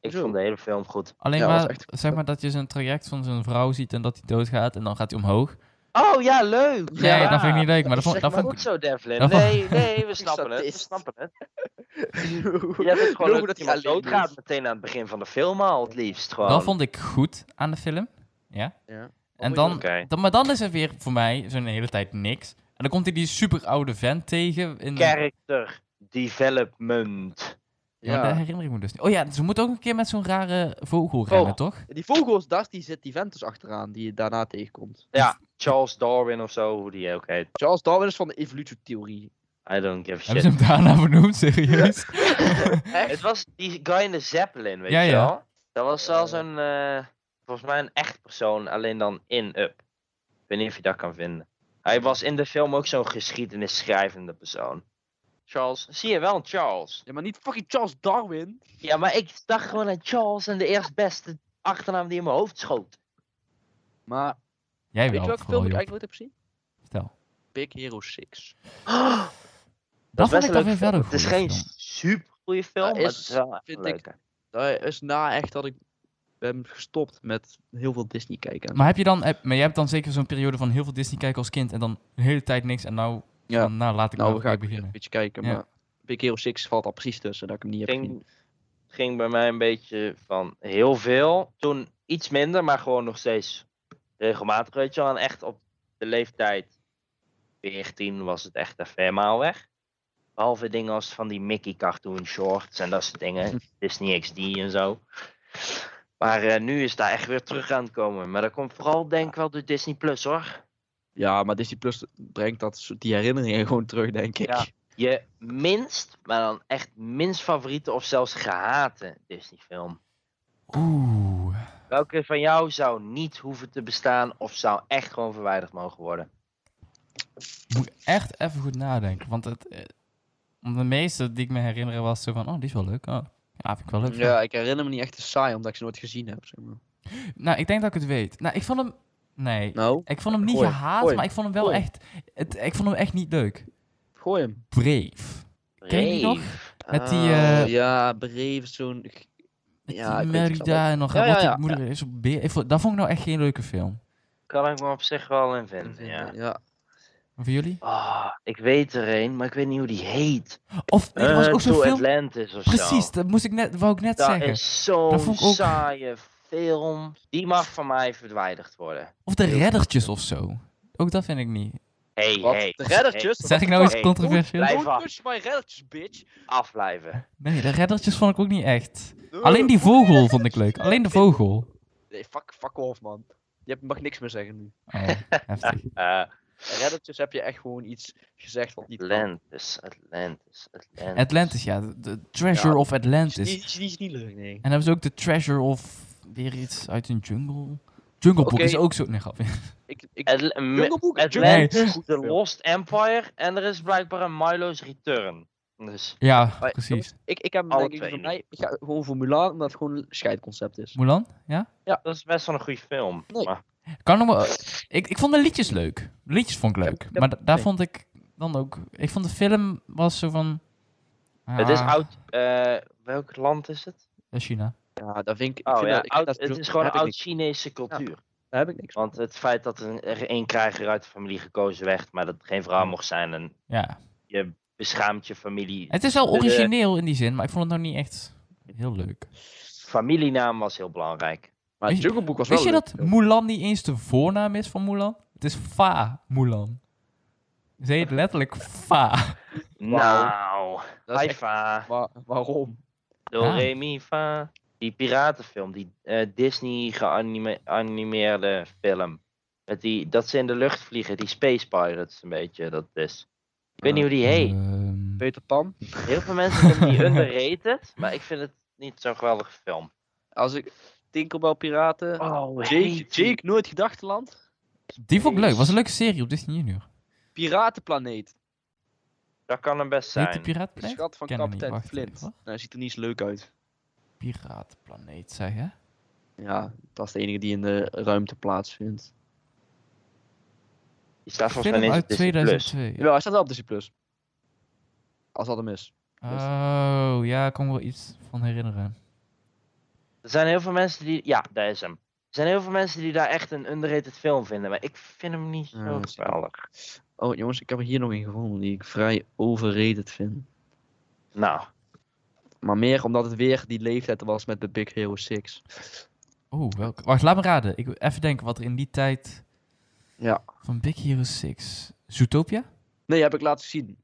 Ik vond de hele film goed.
Alleen
Ja, was
maar,
echt-
zeg maar dat je zo'n traject van zo'n vrouw ziet en dat hij doodgaat en dan gaat hij omhoog.
Oh ja, leuk.
Nee, dat vind ik niet leuk, maar dat vond,
Zeg
dat
maar
vond
Goed
ik...
zo, Devlin.
dat vond-
Nee, nee, we snappen het. We
Statist.
snappen het.
Je
Je hebt gewoon leuk dat
hij
iemand
alleen
doodgaat
gaat.
meteen aan het begin van de film al, het liefst gewoon.
Dat vond ik goed aan de film. Ja.
Ja.
En
Oh,
dan,
Oké.
dan... Maar dan is er weer voor mij zo'n hele tijd niks. En dan komt hij die super oude vent tegen. In,
Character development.
Ja, maar
Ja.
dat herinner ik me dus niet. Oh ja, ze moet ook een keer met zo'n rare
Oh,
vogel rennen, toch?
Die vogels, daar die zit die vent dus achteraan die je daarna tegenkomt.
Ja, Charles Darwin of zo, hoe die ook heet.
Charles Darwin is van de evolutietheorie.
I don't give
Hebben
a shit.
ze hem daarna vernoemd, serieus?
Het was die guy in de Zeppelin, weet
Ja,
je
ja.
wel? Dat was wel zo'n, eh, volgens mij een echt persoon, alleen dan in Up. Ik weet niet of je dat kan vinden. Hij was in de film ook zo'n geschiedenisschrijvende persoon. Charles, zie je wel, een Charles.
Ja, maar niet fucking Charles Darwin.
Ja, maar ik dacht gewoon aan Charles en de eerstbeste achternaam die in mijn hoofd schoot. <gasps>
Maar
Jij
weet je
wel,
welke
vooral,
film ik
joh.
eigenlijk nooit heb gezien?
Vertel.
Big Hero 6.
Dat
is best
vond ik
een
dan weer
leuke
verder
film. Het is geen super goede film,
Ja,
maar het
is-
is wel echt
vind
een
ik-
leuke.
Daar is na echt dat ik ben gestopt met heel veel Disney kijken.
Maar heb je dan, heb, maar jij hebt dan zeker zo'n periode van heel veel Disney kijken als kind en dan een hele tijd niks en nou,
Ja.
van, nou laat ik
nou,
nou,
we
weer
gaan
beginnen.
een beetje kijken,
Ja.
maar Big Hero 6 valt al precies tussen dat ik hem niet heb gezien.
ging, ging bij mij een beetje van heel veel. Toen iets minder, maar gewoon nog steeds regelmatig. Weet je wel, en echt op de leeftijd 14 was het echt een vermaal weg. Behalve dingen als van die Mickey cartoon shorts en dat soort dingen. Disney XD en zo. Maar eh, nu is daar echt weer terug aan het komen. Maar dat komt vooral denk ik wel door Disney Plus hoor.
Ja, maar Disney Plus brengt dat, soort- die herinneringen <laughs> gewoon terug, denk ik.
Ja. Je minst, maar dan echt minst favoriete of zelfs gehate Disney film.
Oeh.
Welke van jou zou niet hoeven te bestaan of zou echt gewoon verwijderd mogen worden?
Moet ik echt even goed nadenken. Want het, eh, de meeste die ik me herinner was zo van, oh, die is wel leuk. Oh, ja, vind ik wel leuk.
Ja, ik herinner me niet echt te saai, omdat ik ze nooit gezien heb. Zeg maar.
Nou, ik denk dat ik het weet. Nou, ik vond hem... Nee.
Nou,
Ik vond hem niet
Gooi,
gehaat,
gooi,
maar ik vond hem wel
gooi.
echt... Het, ik vond hem echt niet leuk.
gooi hem.
Brave. Ken je die
Brave.
nog? Met die,
Ah,
eh,
ja, Brave zo'n...
Met
Ja,
die
ik weet het wel.
Merida en nog...
Ja,
wat
ja,
die
ja,
moeder is op beer. Ik vond- dat vond ik nou echt geen leuke film.
Kan ik me op zich wel in vinden, ja.
ja.
Voor jullie?
Ah, ik weet er een, maar ik weet niet hoe die heet.
Of nee, er was
Eh,
ook zo'n
To
film...
Atlantis of zo.
Precies, dat moest ik net, wou ik net
Dat
zeggen.
is zo'n
Dat vond ik ook-
saaie film. Die mag van mij verwijderd worden.
Of de reddertjes of zo. Ook dat vind ik niet.
Hey,
Wat?
hey.
de reddertjes?
Zeg ik nou iets
Hey,
controversieels?
blijf
Don't
af.
push my reddertjes, bitch.
Afblijven.
Nee, de reddertjes vond ik ook niet echt. Alleen die vogel vond ik leuk. Alleen de vogel.
Nee, fuck, fuck off, man. Je mag niks meer zeggen nu. <laughs>
Oh, heftig.
Eh,
Reddertjes heb je echt gewoon iets gezegd wat niet kan.
Atlantis, Atlantis, Atlantis.
Atlantis, ja. de- De Treasure
Ja.
of
Die is
Atlantis.
niet- die is niet leuk, nee.
En hebben ze ook de Treasure of weer iets uit een jungle? Jungle Book
Oké.
is ook zo... Nee, grapje. <laughs>
Ik, ik,
Atl- me-
Jungle Book,
Nee.
Atlantis,
Jungle Book.
The Lost Empire en er is blijkbaar een Milo's Return. Dus
Ja,
Maar
precies.
jongens, Ik, ik heb hem
Alle
denk ik
twee
voor
niet.
mij, ik ga gewoon voor Mulan, omdat het gewoon een scheidconcept is.
Mulan? Ja?
dat is best wel een goede film.
Nee.
Maar
Kan nog maar... Ik, ik vond de liedjes leuk. De liedjes vond ik leuk.
Ja,
Maar da- daar
nee.
vond ik dan ook... Ik vond de film was zo van...
Het is
ah,
oud. eh, welk land is het?
dat is China.
Ja, daar vind ik... ik
Oh
vind
ja,
dat- ik vind
oud-
dat-
het is
daar
gewoon
heb ik niks-
oud-Chinese cultuur.
Daar heb ik niks
Want het feit dat er er één krijger uit de familie gekozen werd, maar dat het geen vrouw mocht zijn en
Ja.
je beschaamt je familie.
Het is wel
eh,
origineel in die zin, maar ik vond het nou niet echt heel leuk.
Familienaam was heel belangrijk.
Maar
Weet je-
Jungle Book was wel
Wist je
leuk.
dat Mulan niet eens de voornaam is van Mulan? Het is Fa Mulan. Ze heet letterlijk Fa.
Nou,
Dat is
hi
echt-
fa,
Wa- waarom?
do
Ja.
re mi fa. Die piratenfilm, die eh, Disney geanimeerde film. Met die, dat ze in de lucht vliegen, die Space Pirates een beetje, dat is. Ik weet niet hoe die heet.
Ehm,
Peter Pan?
Heel veel mensen vinden
<laughs>
die underrated, maar ik vind het niet zo'n geweldige film.
Als ik... Tinkerbell Piraten?
Oh,
Jake, Jake Nooit Gedachteland?
die vond ik leuk. Was een leuke serie op Disney Junior.
Piratenplaneet?
Dat kan hem best
Heet de
zijn.
De
Piratenplaneet?
schat van
Ken hem niet,
kapitein
wacht
Flint.
even.
Nou, hij ziet er niet eens leuk uit.
Piratenplaneet, zeg hè?
Ja, dat is de enige die in de ruimte plaatsvindt.
Die staat volgens mij
Film uit
niet op Disney+.
2002.
Ja, hij staat wel op Disney+. Plus. Als dat hem is.
Oh, ja, ik kan me wel iets van herinneren.
Er zijn heel veel mensen die... Ja, daar is hem. zijn heel veel mensen die daar echt een underrated film vinden, maar ik vind hem niet
Ja,
zo
dat is-
geweldig.
Oh, jongens, ik heb er hier nog een gevonden die ik vrij overrated vind.
Nou,
Maar meer omdat het weer die leeftijd was met de Big Hero 6.
Oeh, welke? Wacht, laat me raden. Ik wil even denken wat er in die tijd...
Ja.
Van Big Hero 6. Zootopia?
Nee, heb ik laten zien.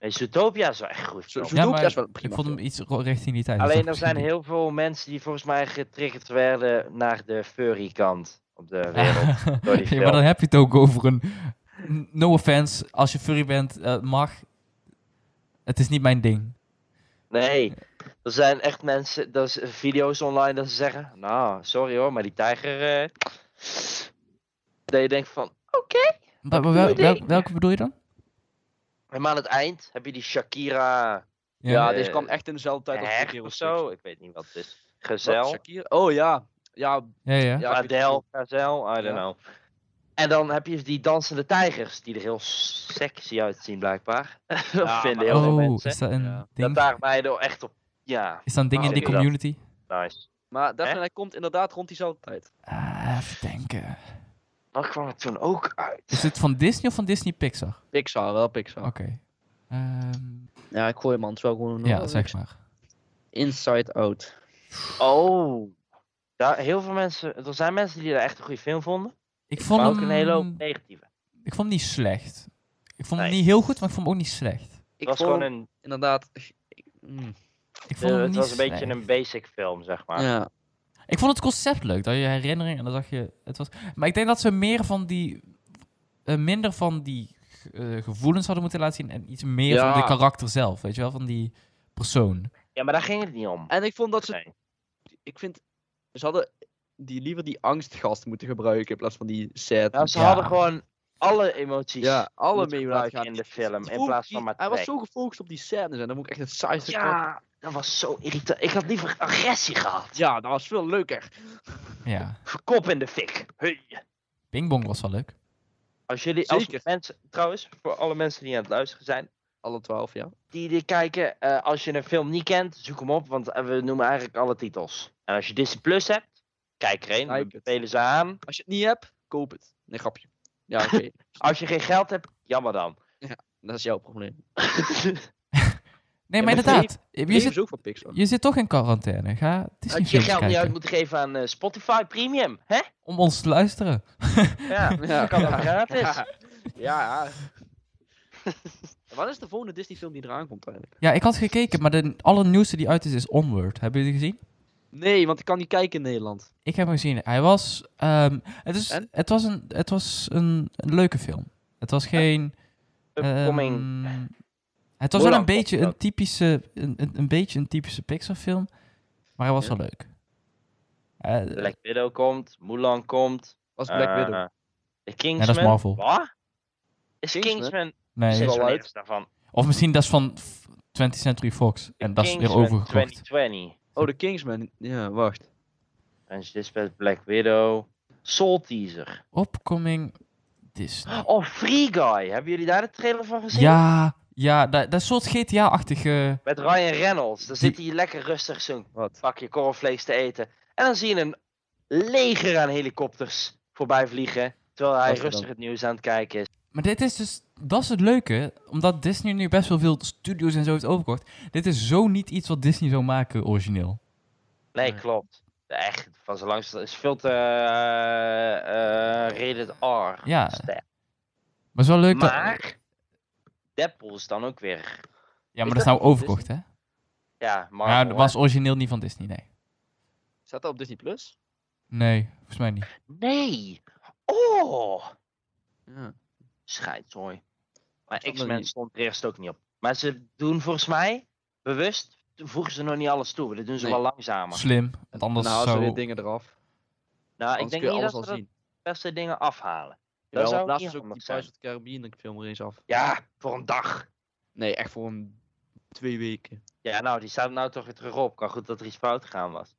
nee, Zootopia is wel echt een goede
Zo-
film.
Zootopia is wel een
ik
prima
vond hem
film.
iets ro- richting die tijd. dus
Alleen
dat
er zijn
misschien
heel veel mensen die volgens mij getriggerd werden naar de furry kant op de
niet.
wereld.
<laughs>
door die
Ja, maar
film.
dan heb je het ook over een... No offense, als je furry bent, eh, mag. Het is niet mijn ding.
Nee, er zijn echt mensen, er zijn video's online dat ze zeggen, nou, sorry hoor, maar die tijger, eh, dat je denkt van, oké.
Maar- maar wel-
doe je
wel-
ding.
welke bedoel je dan?
Maar aan het eind heb je die Shakira
Ja,
eh,
deze kwam echt in dezelfde tijd als Big
hert
Hero
of
6.
zo, ik weet niet wat het is.
Wat,
Gezel,
Shakira? Oh ja. Ja,
ja, ja.
ja,
Adele, Gazel, I don't
Ja.
know. En dan heb je die dansende tijgers, die er heel sexy uitzien blijkbaar. <laughs> dat
Ja,
vinden
maar-
heel veel
Oh,
mensen.
is dat een
Ja.
ding?
Dat daar meiden echt op, ja,
Is dat een ding
Oh,
in de
oké.
community?
nice.
Maar dat,
Hè?
hij komt inderdaad rond diezelfde tijd.
Ah, even denken.
Wat kwam er toen ook uit?
Is het van Disney of van Disney Pixar?
Pixar, wel Pixar.
Oké. Ehm,
Ja, ik gooi man, het is wel gewoon een
ja, zeg maar.
Inside Out.
Oh. Ja, heel veel mensen, er zijn mensen die er echt een goede film vonden.
Ik vond,
Maar ook
hem,
een hele hoop negatieve.
ik vond hem niet slecht. Ik vond hem
Nee.
niet heel goed, maar ik vond hem ook niet slecht.
Ik
Het was
vond
gewoon
hem
een,
inderdaad... ik- mm,
Ik vond
eh,
hem
het
niet
was een beetje
slecht.
een basic film, zeg maar.
Ja.
Ik vond het concept leuk, dat je herinnering en dan zag je... Het was... Maar ik denk dat ze meer van die... eh, minder van die eh, gevoelens hadden moeten laten zien en iets meer
Ja.
van de karakter zelf, weet je wel? Van die persoon.
Ja, maar daar ging het niet om.
En ik vond dat ze...
Nee.
Ik vind... Ze hadden die liever die angstgast moeten gebruiken in plaats van die sad.
Nou, ze
Ja.
hadden gewoon alle emoties.
Ja, alle
moeten
mee
gebruiken
laten gaan.
in de film, in
Vroeg-
plaats van
die-
maar
Hij was
twee.
zo gefocust op die scènes en dan moet ik echt het saaiste kant-
Ja, dat was zo irritant. Ik had liever agressie gehad.
Ja, dat was veel leuker.
Ja.
Kop in de fik. Hey.
Ping Bong was wel leuk.
Als jullie, als
Zeker.
mensen, trouwens, voor alle mensen die aan het luisteren zijn,
Alle twaalf, ja.
die dit kijken, eh, als je een film niet kent, zoek hem op, want eh, we noemen eigenlijk alle titels. En als je Disney Plus hebt, kijk er een, we
Like it.
bevelen ze aan.
Als je het niet hebt, koop het. Nee, grapje. Ja, oké. <laughs>
Als je geen geld hebt,
<laughs>
jammer dan.
dat is jouw probleem.
<laughs>
Nee,
Ja,
maar
maar
inderdaad.
Je
Je
is
zit,
ook van Pixar.
je zit toch in quarantaine. Ga
Had je
Disney
je
films
geld niet uit
kijken.
moeten geven aan eh, Spotify Premium, hè?
Om ons te luisteren.
Ja, <laughs> dat kan ook gratis.
<laughs> Ja. Wat is de volgende Disney film die eraan komt eigenlijk?
Ja, ik had gekeken, maar de allernieuwste die uit is, is Onward. Hebben jullie die gezien?
Nee, want ik kan niet kijken in Nederland.
Ik heb hem gezien. Hij was. ehm, het, is,
En?
het was, een, het was een, een leuke film. Het was geen.
Upcoming.
ehm, het was wel
Mulan
een beetje
was
een typische, een, een, een beetje een typische Pixar-film, maar hij was wel leuk. Eh,
Black Widow komt, Mulan komt.
Was Black
eh,
Widow.
De
dat
Kingsman.
is Marvel.
Wat? Is
Kingsman?
Kingsman? Kingsman
nee.
is
wel
wel
uit.
uit. daarvan.
Of misschien dat is van f- 20th Century Fox en dat is weer
Kingsman
overgekocht.
2020.
Oh, de Kingsman. Ja, wacht.
En Dispatch Black Widow. Soul Teaser.
Opkoming Disney.
Oh, Free Guy. Hebben jullie daar de trailer van gezien?
Ja, ja, dat, dat is een soort GTA-achtige.
Met Ryan Reynolds. Dan
Die-
zit hij lekker rustig zo'n
Wat?
pakje korrelvlees te eten. En dan zie je een leger aan helikopters voorbij vliegen. Terwijl hij
Wat voor
rustig
dan?
het nieuws aan het kijken is.
Maar dit is dus, dat is het leuke, omdat Disney nu best wel veel studios en zo heeft overgekocht. Dit is zo niet iets wat Disney zou maken origineel.
Nee,
Nee.
klopt. Echt, van zo langs is veel te eh, eh, rated R.
Ja.
Sterk.
Maar het is wel leuk dat...
Maar Deadpool is dan ook weer.
Ja,
Is
maar dat is
dat
nou
van
overkocht, hè?
Ja, maar.
Ja, dat was origineel niet van Disney, nee.
Staat dat op Disney Plus?
Nee, volgens mij niet.
Nee! Oh!
Ja.
Scheidzooi. Maar
Zat nog
X-Men
niet.
stond er eerst ook niet op. Maar ze doen volgens mij, bewust, voegen ze nog niet alles toe. Dat doen ze
Nee.
wel langzamer.
Slim, want anders
nou,
zou...
ze weer dingen eraf.
Nou, ik
Anders
denk
kun je
niet
alles
dat
al
ze dat
zien.
beste dingen afhalen.
Jawel,
zou
want
ook
laatst
niet handig
was ook die Pirates
zijn.
of the Caribbean ik film er eens af.
Ja, voor een dag.
Nee, echt voor een twee weken.
Ja, nou, die staat nou toch weer terug op. Kan goed dat er iets fout gegaan was.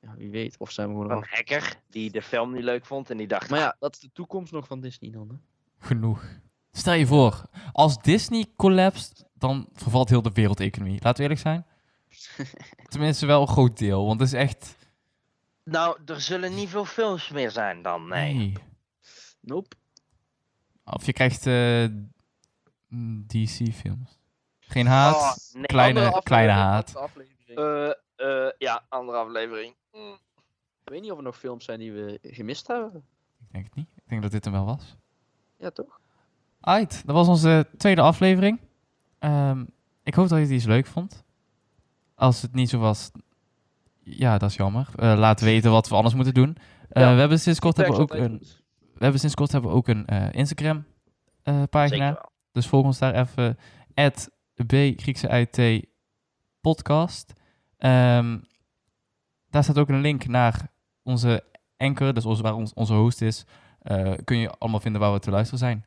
Ja, wie weet, of zijn we gewoon
Van
af.
een hacker die de film niet leuk vond en die dacht.
Maar ja, dat is de toekomst nog van Disney dan. Hè?
Genoeg. Stel je voor, als Disney collapst, dan vervalt heel de wereldeconomie. Laten we eerlijk zijn. Tenminste wel een groot deel, want het is echt...
Nou, er zullen niet veel films meer zijn dan, nee.
Nope.
Of je krijgt eh, mm, DC-films. Geen haat,
Oh, nee,
kleine,
andere
kleine
aflevering.
haat.
Aflevering.
Eh, eh, ja, andere aflevering. Mm.
ik weet niet of er nog films zijn die we gemist hebben.
Ik denk het niet. Ik denk dat dit hem wel was.
Ja, toch?
Alright, dat was onze tweede aflevering. Ehm, ik hoop dat je het iets leuk vond. Als het niet zo was, ja, dat is jammer. Eh, laat weten wat we anders moeten doen. Eh,
Ja.
we, hebben sinds kort hebben we, ook
Feedback is
een,
altijd goed.
we hebben sinds kort hebben we ook een eh, Instagram eh, pagina.
Zeker wel.
Dus volg ons daar even. At B Griekse IT podcast. Ehm, daar staat ook een link naar onze anchor, dus onze, waar ons, onze host is. Eh, kun je allemaal vinden waar we te luisteren zijn.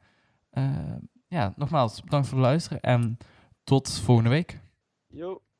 Ehm, ja, nogmaals, bedankt voor het luisteren en tot volgende week.
Yo.